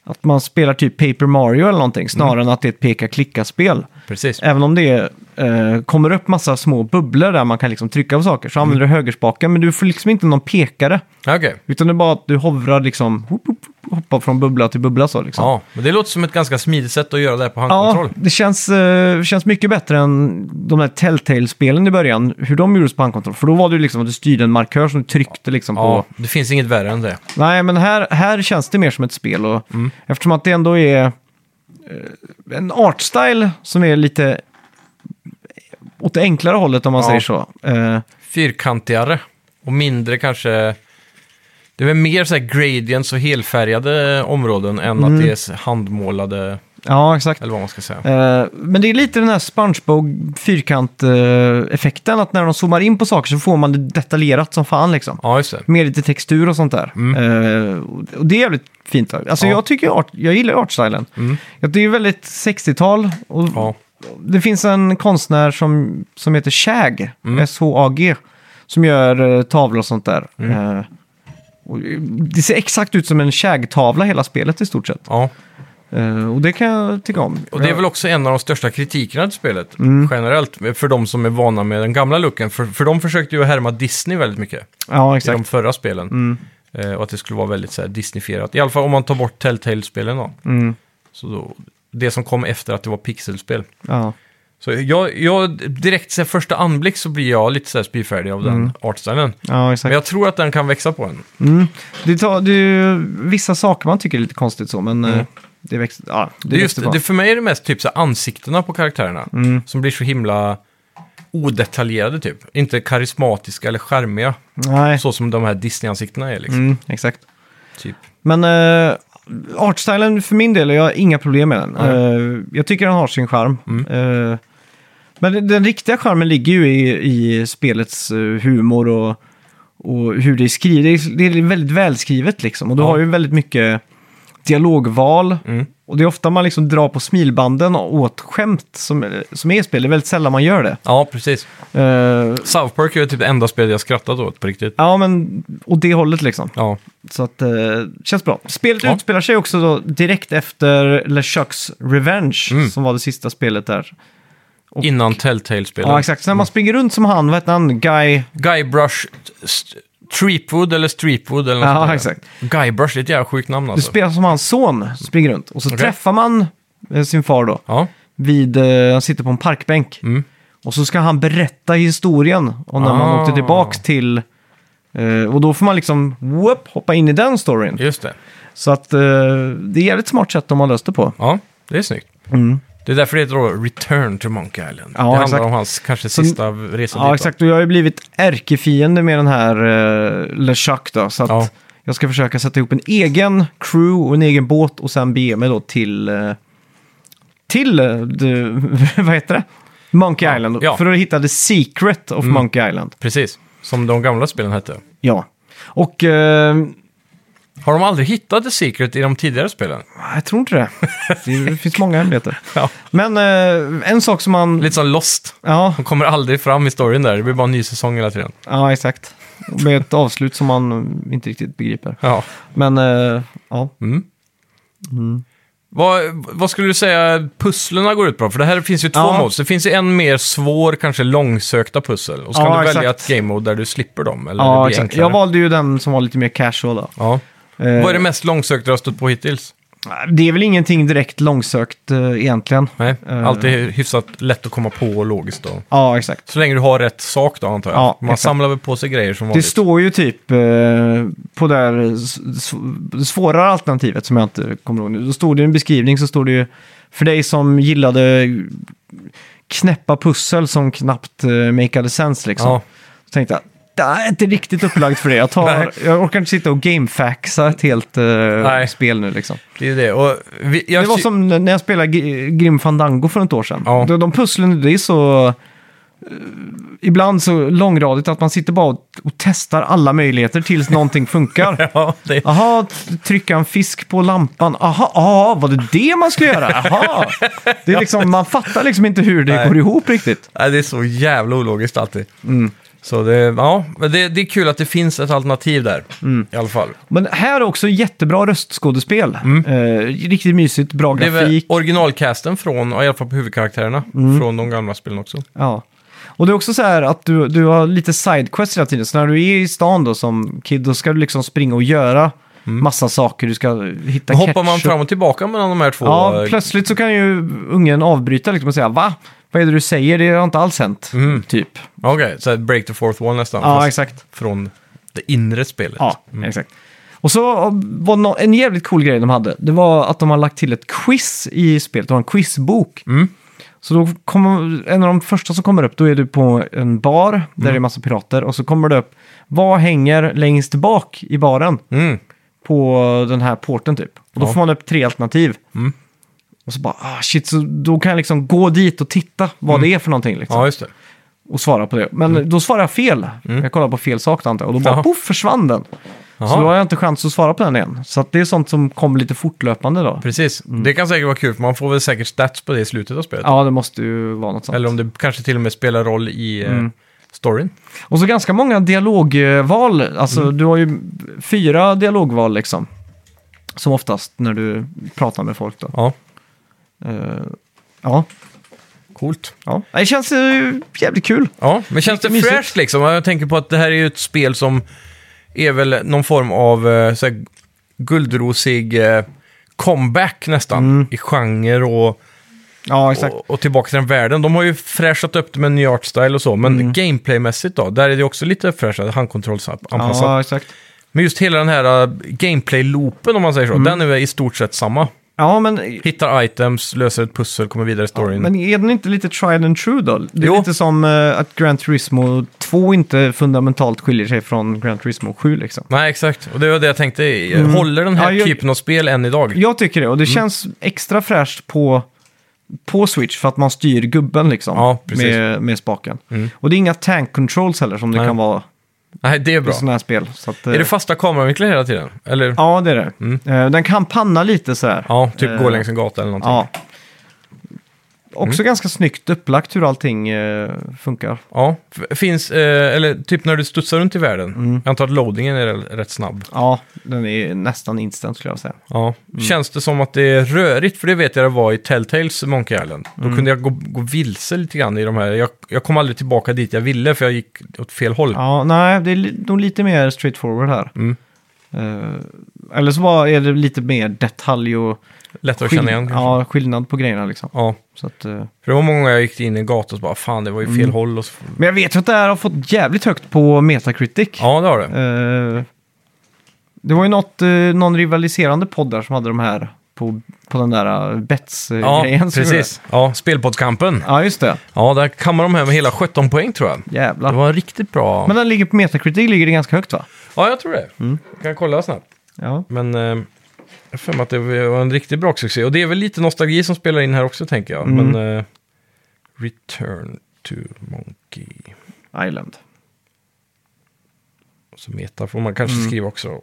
[SPEAKER 2] att man spelar typ Paper Mario eller någonting, snarare än att det är ett peka-klicka-spel.
[SPEAKER 1] Precis.
[SPEAKER 2] Även om det eh, kommer upp massa små bubblor där man kan liksom trycka på saker, så använder du högerspaken, men du får liksom inte någon pekare.
[SPEAKER 1] Okej.
[SPEAKER 2] Utan det är bara att du hovrar liksom, hopp, hopp, hoppar från bubbla till bubbla så liksom.
[SPEAKER 1] Ja, men det låter som ett ganska smidigt sätt att göra det här på
[SPEAKER 2] Ja,
[SPEAKER 1] handkontroll.
[SPEAKER 2] det känns, eh, känns mycket bättre än de där Telltale-spelen i början, hur de gjordes på handkontroll. För då var det ju liksom att du styrde en markör som du tryckte liksom
[SPEAKER 1] Ja,
[SPEAKER 2] på.
[SPEAKER 1] det finns inget värre än det.
[SPEAKER 2] Nej, men här, här känns det mer som ett spel. Och
[SPEAKER 1] Mm.
[SPEAKER 2] Eftersom att det ändå är eh, en artstyle som är lite åt det enklare hållet om man
[SPEAKER 1] Ja.
[SPEAKER 2] säger så. Eh,
[SPEAKER 1] Fyrkantigare och mindre kanske... Det är väl mer så här gradients och helfärgade områden än
[SPEAKER 2] Mm.
[SPEAKER 1] att det är s- handmålade,
[SPEAKER 2] ja, exakt.
[SPEAKER 1] eller vad man ska säga.
[SPEAKER 2] Eh, Men det är lite den här SpongeBob fyrkant-effekten, att när de zoomar in på saker så får man det detaljerat som fan liksom.
[SPEAKER 1] Ja, just det.
[SPEAKER 2] Med lite textur och sånt där. Eh, och det är jävligt fint. Alltså
[SPEAKER 1] Mm. Ja. Mm.
[SPEAKER 2] jag tycker art, jag gillar artstylen. Ja, Det är ju väldigt 60-tal. Och
[SPEAKER 1] Ja.
[SPEAKER 2] Det finns en konstnär som, som heter Shag,
[SPEAKER 1] Mm.
[SPEAKER 2] S-H-A-G, som gör eh, tavlor och sånt där.
[SPEAKER 1] Mm.
[SPEAKER 2] Eh, och det ser exakt ut som en Shag-tavla hela spelet i stort sett.
[SPEAKER 1] ja.
[SPEAKER 2] Eh, och det kan jag tycka om.
[SPEAKER 1] Och det är väl också en av de största kritikerna till spelet,
[SPEAKER 2] Mm.
[SPEAKER 1] generellt, för de som är vana med den gamla looken. För, för de försökte ju härma Disney väldigt mycket.
[SPEAKER 2] Ja,
[SPEAKER 1] i de
[SPEAKER 2] exakt. Mm.
[SPEAKER 1] förra spelen. Eh, och att det skulle vara väldigt så här, Disneyfierat. I alla fall om man tar bort Telltale-spelen då.
[SPEAKER 2] Mm.
[SPEAKER 1] Så då. Det som kom efter att det var pixelspel.
[SPEAKER 2] Ja.
[SPEAKER 1] Så jag, jag direkt sen första anblick så blir jag lite så här spyfärdig av
[SPEAKER 2] Mm.
[SPEAKER 1] den artstylen.
[SPEAKER 2] Ja, exakt.
[SPEAKER 1] Men jag tror att den kan växa på en.
[SPEAKER 2] Mm. Det, tar, det är ju vissa saker man tycker är lite konstigt så, men eh, det växte ja, det
[SPEAKER 1] Mm. Det är
[SPEAKER 2] växte
[SPEAKER 1] just, det,
[SPEAKER 2] bra.
[SPEAKER 1] för mig är det mest typ så här, ansiktena på karaktärerna.
[SPEAKER 2] Mm.
[SPEAKER 1] Som blir så himla odetaljerade typ. Inte karismatiska eller charmiga.
[SPEAKER 2] Nej,
[SPEAKER 1] Så som de här Disney-ansiktena är liksom.
[SPEAKER 2] mm, exakt.
[SPEAKER 1] Typ.
[SPEAKER 2] Men eh, artstylen för min del, jag har inga problem med den. Eh, jag tycker den har sin charm.
[SPEAKER 1] Mm.
[SPEAKER 2] Eh, men den- den riktiga charmen ligger ju i, i spelets eh, humor och, och hur det är skrivet. Det är, det är väldigt välskrivet liksom. Och du
[SPEAKER 1] Ja.
[SPEAKER 2] har ju väldigt mycket dialogval.
[SPEAKER 1] Mm.
[SPEAKER 2] Och det är ofta man liksom drar på smilbanden åt skämt som, som är i spel. Det är väldigt sällan man gör det.
[SPEAKER 1] Ja, precis.
[SPEAKER 2] Eh,
[SPEAKER 1] South Park är ju typ det enda spel jag skrattat åt på riktigt.
[SPEAKER 2] ja, men åt det hållet liksom.
[SPEAKER 1] Ja.
[SPEAKER 2] Så att, eh, känns bra. Spelet
[SPEAKER 1] Ja.
[SPEAKER 2] utspelar sig också då direkt efter LeChucks Revenge,
[SPEAKER 1] Mm.
[SPEAKER 2] som var det sista spelet där. Och-
[SPEAKER 1] Innan Telltale-spelen.
[SPEAKER 2] Ja, exakt. Så
[SPEAKER 1] Mm.
[SPEAKER 2] när man springer runt som han, vad heter han, Guy?
[SPEAKER 1] Guybrush St- Streepwood eller Streepwood eller något
[SPEAKER 2] Ja,
[SPEAKER 1] sånt där.
[SPEAKER 2] exakt.
[SPEAKER 1] Guybrush, det är ett jävla sjukt namn
[SPEAKER 2] Du
[SPEAKER 1] alltså.
[SPEAKER 2] spelar som hans son, springer runt. Och så
[SPEAKER 1] Okej.
[SPEAKER 2] träffar man eh, sin far då,
[SPEAKER 1] Ja,
[SPEAKER 2] vid, eh, han sitter på en parkbänk.
[SPEAKER 1] Mm.
[SPEAKER 2] Och så ska han berätta historien om när man
[SPEAKER 1] Ah.
[SPEAKER 2] åkte tillbaks till... eh, och då får man liksom whoop, hoppa in i den storyn.
[SPEAKER 1] Just det.
[SPEAKER 2] Så att eh, det är ett smart sätt de har löst det på.
[SPEAKER 1] Ja, det är snyggt.
[SPEAKER 2] Mm.
[SPEAKER 1] Det är därför det heter då Return to Monkey Island.
[SPEAKER 2] Ja,
[SPEAKER 1] det handlar
[SPEAKER 2] exakt.
[SPEAKER 1] om hans kanske
[SPEAKER 2] Så-
[SPEAKER 1] sista resa
[SPEAKER 2] Ja,
[SPEAKER 1] dit.
[SPEAKER 2] exakt. Och jag har ju blivit ärkefiende med den här uh, LeChuck då. Så att
[SPEAKER 1] Ja.
[SPEAKER 2] jag ska försöka sätta ihop en egen crew och en egen båt och sen bege mig då till... eh, till, eh, the, vad heter det? Monkey
[SPEAKER 1] Ja,
[SPEAKER 2] Island.
[SPEAKER 1] ja. Mm.
[SPEAKER 2] För att hitta the secret of Monkey Island.
[SPEAKER 1] Precis, som de gamla spelen hette.
[SPEAKER 2] Ja. Och eh,
[SPEAKER 1] Har de aldrig hittat The Secret i de tidigare spelen?
[SPEAKER 2] jag tror inte det. Det finns många hemligheter.
[SPEAKER 1] Ja.
[SPEAKER 2] Men eh, en sak som man...
[SPEAKER 1] Lite som Lost.
[SPEAKER 2] Ja,
[SPEAKER 1] De kommer aldrig fram i storyn där, det blir bara en ny säsong hela tiden.
[SPEAKER 2] ja, exakt. Med ett avslut som man eh, inte riktigt begriper.
[SPEAKER 1] Ja.
[SPEAKER 2] Men eh, ja.
[SPEAKER 1] Mm. Vad, vad skulle du säga pusslerna går ut på? För det här finns ju två
[SPEAKER 2] Ja.
[SPEAKER 1] modes. Det finns ju en mer svår, kanske långsökta pussel. Och så kan
[SPEAKER 2] Ja,
[SPEAKER 1] du välja
[SPEAKER 2] exakt.
[SPEAKER 1] ett game mode där du slipper dem, eller det
[SPEAKER 2] Ja,
[SPEAKER 1] blir
[SPEAKER 2] exakt.
[SPEAKER 1] enklare.
[SPEAKER 2] Jag valde ju den som var lite mer casual. Då.
[SPEAKER 1] Ja.
[SPEAKER 2] Eh,
[SPEAKER 1] Vad är det mest långsökta du har stött på hittills?
[SPEAKER 2] det är väl ingenting direkt långsökt eh, egentligen.
[SPEAKER 1] Nej,
[SPEAKER 2] Eh.
[SPEAKER 1] alltid hyfsat lätt att komma på och logiskt. Då.
[SPEAKER 2] Ja, exakt.
[SPEAKER 1] Så länge du har rätt sak då, antar jag.
[SPEAKER 2] Ja,
[SPEAKER 1] Man
[SPEAKER 2] exakt.
[SPEAKER 1] samlar väl på sig grejer som
[SPEAKER 2] Det
[SPEAKER 1] vanligt.
[SPEAKER 2] står ju typ eh, på det här s- s- svårare alternativet som jag inte kommer ihåg nu. Då stod det i en beskrivning så stod det ju för dig som gillade knäppa pussel som knappt eh, makeade sense liksom.
[SPEAKER 1] Ja,
[SPEAKER 2] Så tänkte jag, det här är inte riktigt upplagt för det. Jag,
[SPEAKER 1] Nej.
[SPEAKER 2] tar, jag orkar inte sitta och gamefaxa ett helt eh,
[SPEAKER 1] Nej.
[SPEAKER 2] spel nu liksom.
[SPEAKER 1] det är ju det. Och vi, jag,
[SPEAKER 2] Det var som när jag spelade Gr- Grim Fandango för ett år sedan.
[SPEAKER 1] Alltså, Ja.
[SPEAKER 2] De, de pusslen, det är så... eh, ibland så långradigt att man sitter bara och, och testar alla möjligheter tills någonting funkar.
[SPEAKER 1] Ja, det,
[SPEAKER 2] Aha, t- trycka en fisk på lampan. Aha, aha, var det det man skulle göra? Aha. Det är liksom, man fattar liksom inte hur det
[SPEAKER 1] Nej.
[SPEAKER 2] går ihop riktigt.
[SPEAKER 1] Nej, det är så jävla ologiskt alltid.
[SPEAKER 2] Mm.
[SPEAKER 1] Så det, ja, men det, det är kul att det finns ett alternativ där.
[SPEAKER 2] Mm.
[SPEAKER 1] I alla fall.
[SPEAKER 2] Men här är också jättebra röstskådespel. Eh, riktigt mysigt, bra
[SPEAKER 1] Mm. Det är väl
[SPEAKER 2] grafik. Mm.
[SPEAKER 1] originalcasten från, i alla fall på huvudkaraktärerna, från de gamla spelen också.
[SPEAKER 2] Ja. Och det är också så här att du, du har lite sidequests hela tiden. Så när du är i stan då som kid, då ska du liksom springa och göra massa saker. Du ska hitta
[SPEAKER 1] Mm. Hoppar man
[SPEAKER 2] ketchup.
[SPEAKER 1] fram och tillbaka mellan de här två?
[SPEAKER 2] Ja,
[SPEAKER 1] eh,
[SPEAKER 2] plötsligt så kan ju ungen avbryta liksom och säga va? Vad är det du säger? Det har inte alls hänt.
[SPEAKER 1] Mm.
[SPEAKER 2] Typ.
[SPEAKER 1] Okej, så här break the fourth wall nästan.
[SPEAKER 2] Ja,
[SPEAKER 1] fast
[SPEAKER 2] exakt.
[SPEAKER 1] Från det inre spelet.
[SPEAKER 2] Ja, exakt. Och så var nå- en jävligt cool grej de hade. Det var att de har lagt till ett quiz i spelet. De har en quizbok. Så då kommer, en av de första som kommer upp, då är du på en bar där det är massa pirater. Och så kommer det upp, vad hänger längst bak i baren
[SPEAKER 1] Mm.
[SPEAKER 2] på den här porten typ? Och då
[SPEAKER 1] Ja.
[SPEAKER 2] får man upp tre alternativ. Och så bara, ah, shit, så då kan jag liksom gå dit och titta vad det är för någonting. Liksom
[SPEAKER 1] ja, just det.
[SPEAKER 2] och svara på det. Men
[SPEAKER 1] Mm.
[SPEAKER 2] då svarade jag fel. Jag kollade på fel sak antar jag. Och då bara
[SPEAKER 1] Jaha.
[SPEAKER 2] poff försvann den.
[SPEAKER 1] Mm. Jaha.
[SPEAKER 2] Så då har jag inte chans att svara på den igen. Så att det är sånt som kom lite fortlöpande då.
[SPEAKER 1] Precis. Det kan säkert vara kul, för man får väl säkert stats på det i slutet av spelet.
[SPEAKER 2] Mm. Ja, det måste ju vara något sånt.
[SPEAKER 1] Eller om det kanske till och med spelar roll i eh,
[SPEAKER 2] Mm.
[SPEAKER 1] storyn.
[SPEAKER 2] Och så ganska många dialogval. Alltså
[SPEAKER 1] Mm.
[SPEAKER 2] du har ju fyra dialogval liksom. Som oftast när du pratar med folk då.
[SPEAKER 1] Ja,
[SPEAKER 2] Eh, ja.
[SPEAKER 1] coolt.
[SPEAKER 2] ja. Det känns eh, jävligt kul.
[SPEAKER 1] Ja, men känns det
[SPEAKER 2] Mysigt.
[SPEAKER 1] fräscht liksom? Jag tänker på att det här är ju ett spel som är väl någon form av eh, så här, guldrosig eh, comeback nästan i genre och,
[SPEAKER 2] Ja, Mm. exakt.
[SPEAKER 1] och, och tillbaka till den världen. De har ju fräschat upp det med en ny art style och så, men
[SPEAKER 2] Mm.
[SPEAKER 1] gameplaymässigt då, där är det också lite fräschat, handkontrollsanpassat.
[SPEAKER 2] Ja, exakt.
[SPEAKER 1] Men just hela den här eh, gameplay-loopen om man säger så,
[SPEAKER 2] Mm.
[SPEAKER 1] den är väl i stort sett samma.
[SPEAKER 2] Ja, men
[SPEAKER 1] Hittar items, löser ett pussel, kommer vidare i storyn.
[SPEAKER 2] Men är den inte lite tried and true då? Det är
[SPEAKER 1] Jo.
[SPEAKER 2] lite som eh, att Gran Turismo 2 inte fundamentalt skiljer sig från Gran Turismo 7 liksom.
[SPEAKER 1] Nej, exakt. Och det var det jag tänkte. Håller den här
[SPEAKER 2] Mm. Ja, jag-
[SPEAKER 1] typen av spel än idag?
[SPEAKER 2] Jag tycker det, och
[SPEAKER 1] Mm.
[SPEAKER 2] det känns extra fräscht på, på Switch för att man styr gubben liksom.
[SPEAKER 1] Ja, precis. Mm.
[SPEAKER 2] med, med spaken. Och det är inga tank controls heller som det
[SPEAKER 1] Nej.
[SPEAKER 2] kan vara
[SPEAKER 1] Nej, det är bra.
[SPEAKER 2] i sådana här spel. Så att, eh,
[SPEAKER 1] Är det fasta kameravinklar hela tiden? Eller?
[SPEAKER 2] Ja, det är det. Eh, den kan panna lite sådär.
[SPEAKER 1] Ja, typ
[SPEAKER 2] Eh,
[SPEAKER 1] gå längs en gata eller någonting. Ja.
[SPEAKER 2] Ja. Också
[SPEAKER 1] Mm.
[SPEAKER 2] ganska snyggt upplagt hur allting eh, funkar.
[SPEAKER 1] F- Finns, eh, eller typ när du studsar runt i världen.
[SPEAKER 2] Mm.
[SPEAKER 1] Jag antar att loadingen är r- rätt snabb.
[SPEAKER 2] Ja, den är nästan instant skulle jag säga.
[SPEAKER 1] Ja.
[SPEAKER 2] Mm.
[SPEAKER 1] Känns det som att det är rörigt? För det vet jag det var i Telltales Monkey Island. Då
[SPEAKER 2] Mm.
[SPEAKER 1] kunde jag gå, gå vilse lite grann i de här. Jag, jag kom aldrig tillbaka dit jag ville för jag gick åt fel håll.
[SPEAKER 2] Ja, nej, det är li- nog lite mer straightforward här.
[SPEAKER 1] typ. Mm.
[SPEAKER 2] Eh, eller så var, är det lite mer detalj och
[SPEAKER 1] Lättare att känna igen kanske.
[SPEAKER 2] ja, skillnad på grejerna liksom.
[SPEAKER 1] Ja.
[SPEAKER 2] Så att, eh,
[SPEAKER 1] För det var många jag gick in i en gata och så bara fan det var ju
[SPEAKER 2] Mm.
[SPEAKER 1] fel håll och så.
[SPEAKER 2] men jag vet ju att det här har fått jävligt högt på Metacritic.
[SPEAKER 1] Ja det har det.
[SPEAKER 2] Eh, det var ju något, eh, någon rivaliserande podd där som hade de här på, på den där eh,
[SPEAKER 1] Ja,
[SPEAKER 2] bets-grejen.
[SPEAKER 1] precis. Ja, spelpoddskampen.
[SPEAKER 2] Ja, just det.
[SPEAKER 1] Ja, där kammar de hem hela 17 poäng tror jag.
[SPEAKER 2] Jävlar.
[SPEAKER 1] Det var en riktigt bra.
[SPEAKER 2] Men den ligger på Metacritic ligger det ganska högt va?
[SPEAKER 1] Ja, jag tror det.
[SPEAKER 2] Mm.
[SPEAKER 1] Jag kan kolla snabbt.
[SPEAKER 2] Ja.
[SPEAKER 1] Men eh, jag har för mig att det var en riktigt bra succé. Och det är väl lite nostalgi som spelar in här också, tänker jag.
[SPEAKER 2] Mm.
[SPEAKER 1] Men eh, Return to Monkey.
[SPEAKER 2] Island.
[SPEAKER 1] Och så meta får man
[SPEAKER 2] Mm.
[SPEAKER 1] kanske skriva också.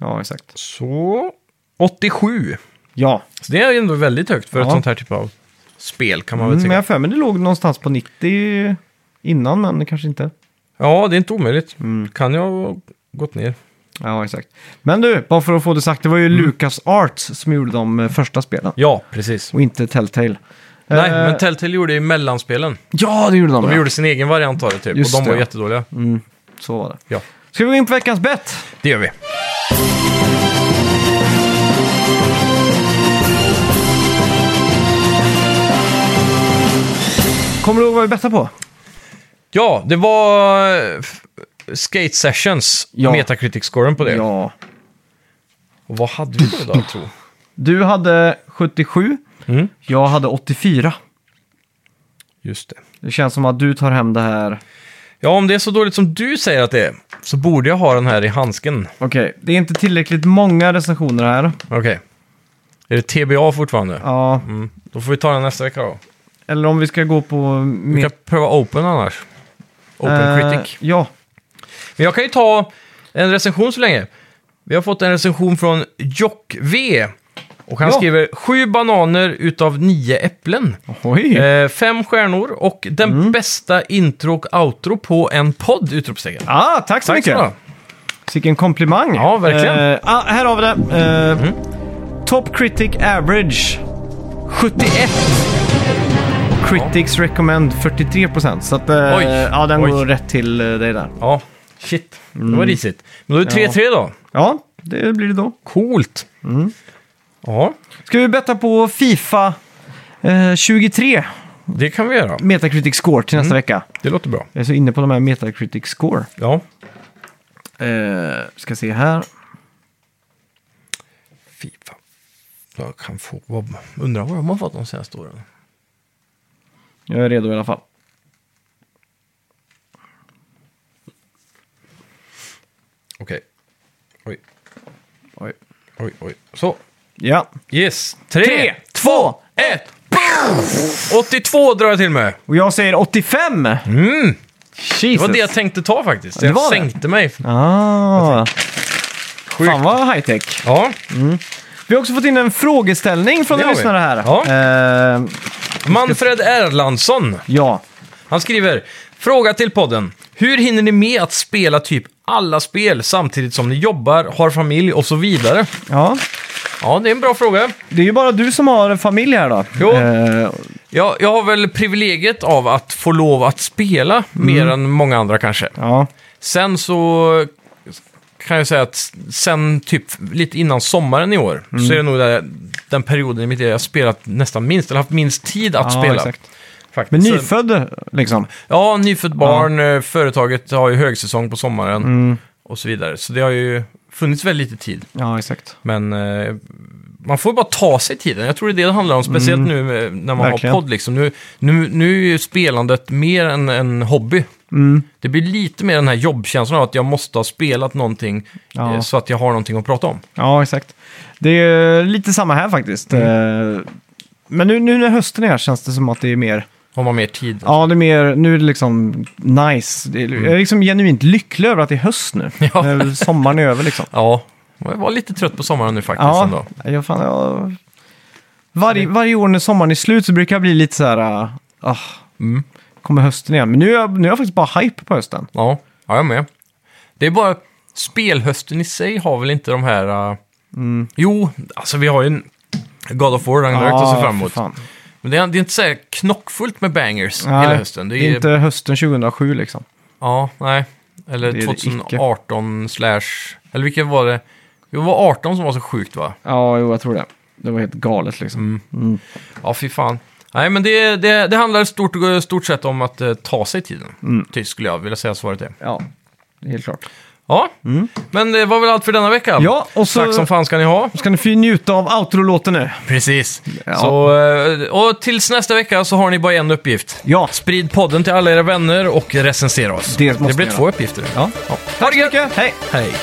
[SPEAKER 2] Ja, exakt.
[SPEAKER 1] Så, 87.
[SPEAKER 2] Ja,
[SPEAKER 1] Så det är ändå väldigt högt för
[SPEAKER 2] Ja.
[SPEAKER 1] ett sånt här typ av spel kan man väl
[SPEAKER 2] mm, men
[SPEAKER 1] säga.
[SPEAKER 2] jag har för mig det låg någonstans på 90 innan, men kanske inte.
[SPEAKER 1] Ja, det är inte omöjligt.
[SPEAKER 2] Mm.
[SPEAKER 1] Kan jag ha gått ner.
[SPEAKER 2] Ja, exakt. Men du, bara för att få det sagt, det var ju Lucas Arts som gjorde de eh, första spelen
[SPEAKER 1] Mm. Ja, precis.
[SPEAKER 2] och inte Telltale. Eh,
[SPEAKER 1] Nej, men Telltale gjorde ju mellanspelen.
[SPEAKER 2] Ja, det gjorde de.
[SPEAKER 1] De
[SPEAKER 2] ja.
[SPEAKER 1] gjorde sin egen variant av det typ.
[SPEAKER 2] Just
[SPEAKER 1] och de var
[SPEAKER 2] det. Mm.
[SPEAKER 1] jättedåliga.
[SPEAKER 2] Så var det.
[SPEAKER 1] Ja,
[SPEAKER 2] Ska vi gå in på veckans bett?
[SPEAKER 1] det gör vi.
[SPEAKER 2] Kommer du ihåg vad vi bettade på?
[SPEAKER 1] Ja, det var eh, f- Skate Sessions,
[SPEAKER 2] Ja.
[SPEAKER 1] Metacritic-scoren på det.
[SPEAKER 2] Ja.
[SPEAKER 1] Och vad hade vi då, då tro?
[SPEAKER 2] Du hade 77,
[SPEAKER 1] Mm.
[SPEAKER 2] jag hade 84.
[SPEAKER 1] Just det.
[SPEAKER 2] Det känns som att du tar hem det här.
[SPEAKER 1] Ja, om det är så dåligt som du säger att det är, så borde jag ha den här i handsken.
[SPEAKER 2] Okej, det är inte tillräckligt många recensioner här.
[SPEAKER 1] Okej. Är det TBA fortfarande?
[SPEAKER 2] Ja,
[SPEAKER 1] Mm. Då får vi ta den nästa vecka då.
[SPEAKER 2] eller om vi ska gå på...
[SPEAKER 1] Vi
[SPEAKER 2] Mer...
[SPEAKER 1] kan pröva Open annars. Open Critic.
[SPEAKER 2] Eh, ja,
[SPEAKER 1] Men jag kan ju ta en recension så länge. Vi har fått en recension från Jock V. Och han
[SPEAKER 2] Ja.
[SPEAKER 1] skriver sju bananer utav nio äpplen.
[SPEAKER 2] oj.
[SPEAKER 1] Eh, fem stjärnor och den
[SPEAKER 2] Mm.
[SPEAKER 1] bästa intro och outro på en podd! Utropstecken.
[SPEAKER 2] ah, tack så
[SPEAKER 1] Tack
[SPEAKER 2] mycket.
[SPEAKER 1] ska du ha.
[SPEAKER 2] Vilken komplimang.
[SPEAKER 1] Ja, verkligen.
[SPEAKER 2] Eh, ah, här har vi det. Eh, Top Critic Average 71. Critics Recommend 43%. Så att, eh,
[SPEAKER 1] Oj.
[SPEAKER 2] ja, den
[SPEAKER 1] Oj.
[SPEAKER 2] går rätt till eh, dig där.
[SPEAKER 1] Ja, shit. Det var risigt. Men då är det 3-3 då.
[SPEAKER 2] Mm. Ja, Mm. det blir det då.
[SPEAKER 1] Coolt! Ja,
[SPEAKER 2] Ska vi betta på Fifa eh, 23
[SPEAKER 1] det kan vi göra.
[SPEAKER 2] Metacritic Score till nästa
[SPEAKER 1] Mm.
[SPEAKER 2] vecka?
[SPEAKER 1] Det låter bra.
[SPEAKER 2] Jag är så inne på de här Metacritic Score.
[SPEAKER 1] Ja.
[SPEAKER 2] Eh, ska se här.
[SPEAKER 1] Fifa. Jag kan få... Vad, undrar vad de har fått de senaste åren.
[SPEAKER 2] Jag är redo i alla fall.
[SPEAKER 1] Okej. Oj,
[SPEAKER 2] Oj.
[SPEAKER 1] oj, oj. Så.
[SPEAKER 2] Ja.
[SPEAKER 1] Yes. 3,
[SPEAKER 2] Tre, två,
[SPEAKER 1] 2, 1. 82 drar jag till med.
[SPEAKER 2] Och jag säger 85!
[SPEAKER 1] Mm. Det
[SPEAKER 2] Jesus.
[SPEAKER 1] var det jag tänkte ta faktiskt.
[SPEAKER 2] det
[SPEAKER 1] Jag
[SPEAKER 2] var det.
[SPEAKER 1] sänkte mig.
[SPEAKER 2] Ah, fan vad high tech.
[SPEAKER 1] Ja,
[SPEAKER 2] Vi har också fått in en frågeställning från
[SPEAKER 1] Det
[SPEAKER 2] en
[SPEAKER 1] har vi.
[SPEAKER 2] lyssnare här.
[SPEAKER 1] Ja.
[SPEAKER 2] Eh,
[SPEAKER 1] Manfred Erlandsson.
[SPEAKER 2] ja.
[SPEAKER 1] Han skriver, fråga till podden. Hur hinner ni med att spela typ alla spel samtidigt som ni jobbar, har familj och så vidare?
[SPEAKER 2] ja.
[SPEAKER 1] Ja, det är en bra fråga.
[SPEAKER 2] Det är ju bara du som har en familj här då.
[SPEAKER 1] Jo.
[SPEAKER 2] Eh,
[SPEAKER 1] Jag, jag har väl privilegiet av att få lov att spela
[SPEAKER 2] Mm.
[SPEAKER 1] mer än många andra kanske.
[SPEAKER 2] ja.
[SPEAKER 1] Sen så kan jag säga att sen typ lite innan sommaren i år
[SPEAKER 2] Mm.
[SPEAKER 1] så är det nog där, den perioden i mitt liv jag har spelat nästan minst, eller haft minst tid att
[SPEAKER 2] Ja,
[SPEAKER 1] spela.
[SPEAKER 2] exakt.
[SPEAKER 1] Faktiskt.
[SPEAKER 2] Men
[SPEAKER 1] Så-
[SPEAKER 2] nyfödd liksom.
[SPEAKER 1] Ja, nyfött barn, eh, företaget har ju högsäsong på sommaren
[SPEAKER 2] Mm.
[SPEAKER 1] och så vidare. Så det har ju funnits väldigt lite tid.
[SPEAKER 2] Ja, exakt.
[SPEAKER 1] Men eh, man får bara ta sig tiden. Jag tror det är det det handlar om, speciellt nu eh, när man
[SPEAKER 2] Mm. Verkligen.
[SPEAKER 1] har podd. Liksom. Nu, nu, nu är ju spelandet mer än en hobby.
[SPEAKER 2] Mm.
[SPEAKER 1] Det blir lite mer den här jobbkänslan av att jag måste ha spelat någonting
[SPEAKER 2] Ja.
[SPEAKER 1] eh, så att jag har någonting att prata om.
[SPEAKER 2] Ja, exakt. Det är lite samma här faktiskt.
[SPEAKER 1] Mm.
[SPEAKER 2] Eh, Men nu, nu när hösten är här känns det som att det är mer,
[SPEAKER 1] Har man mer tid.
[SPEAKER 2] ja det är mer, nu är det liksom nice. Det är, Jag är liksom genuint lycklig över att det är höst nu.
[SPEAKER 1] Mm. Ja.
[SPEAKER 2] När sommaren är över liksom.
[SPEAKER 1] Ja. Jag var lite trött på sommaren nu faktiskt ändå.
[SPEAKER 2] Ja, jag fan, jag... Varje, varje år när sommaren är slut så brukar jag bli lite så här, ah, ah,
[SPEAKER 1] Mm.
[SPEAKER 2] kommer hösten igen. Men nu är, jag, nu är jag faktiskt bara hype på hösten.
[SPEAKER 1] Ja, ja jag är med. Det är bara spelhösten i sig har väl inte de här... eh, Jo, alltså vi har ju en God of War Ragnarök att se fram emot.
[SPEAKER 2] för fan.
[SPEAKER 1] Men det är, det är inte så här knockfullt med bangers
[SPEAKER 2] Nej,
[SPEAKER 1] hela hösten. Det är,
[SPEAKER 2] inte hösten 2007 liksom.
[SPEAKER 1] Ja, nej. Eller
[SPEAKER 2] Det är det icke.
[SPEAKER 1] 2018 slash... Eller vilken var det? Jo, det var 18 som var så sjukt va?
[SPEAKER 2] Ja, jo, jag tror det. Det var helt galet liksom.
[SPEAKER 1] Mm. Ja, fy fan. Nej, men det, det, det handlar stort, stort sett om att eh, ta sig tiden.
[SPEAKER 2] Mm.
[SPEAKER 1] Typ skulle jag vilja säga svaret är.
[SPEAKER 2] Ja, helt klart.
[SPEAKER 1] Ja, men det var väl allt för denna vecka.
[SPEAKER 2] Mm. Ja, och så
[SPEAKER 1] Tack som fan ska ni ha.
[SPEAKER 2] ska ni få njuta av outro-låten nu.
[SPEAKER 1] Precis.
[SPEAKER 2] Ja.
[SPEAKER 1] Så, eh, och tills nästa vecka så har ni bara en uppgift.
[SPEAKER 2] Ja.
[SPEAKER 1] Sprid podden till alla era vänner och recensera oss.
[SPEAKER 2] Det måste
[SPEAKER 1] blir
[SPEAKER 2] ni
[SPEAKER 1] två
[SPEAKER 2] göra.
[SPEAKER 1] uppgifter.
[SPEAKER 2] Ja.
[SPEAKER 1] Ja.
[SPEAKER 2] Tack så mycket. Hej.
[SPEAKER 1] Hej.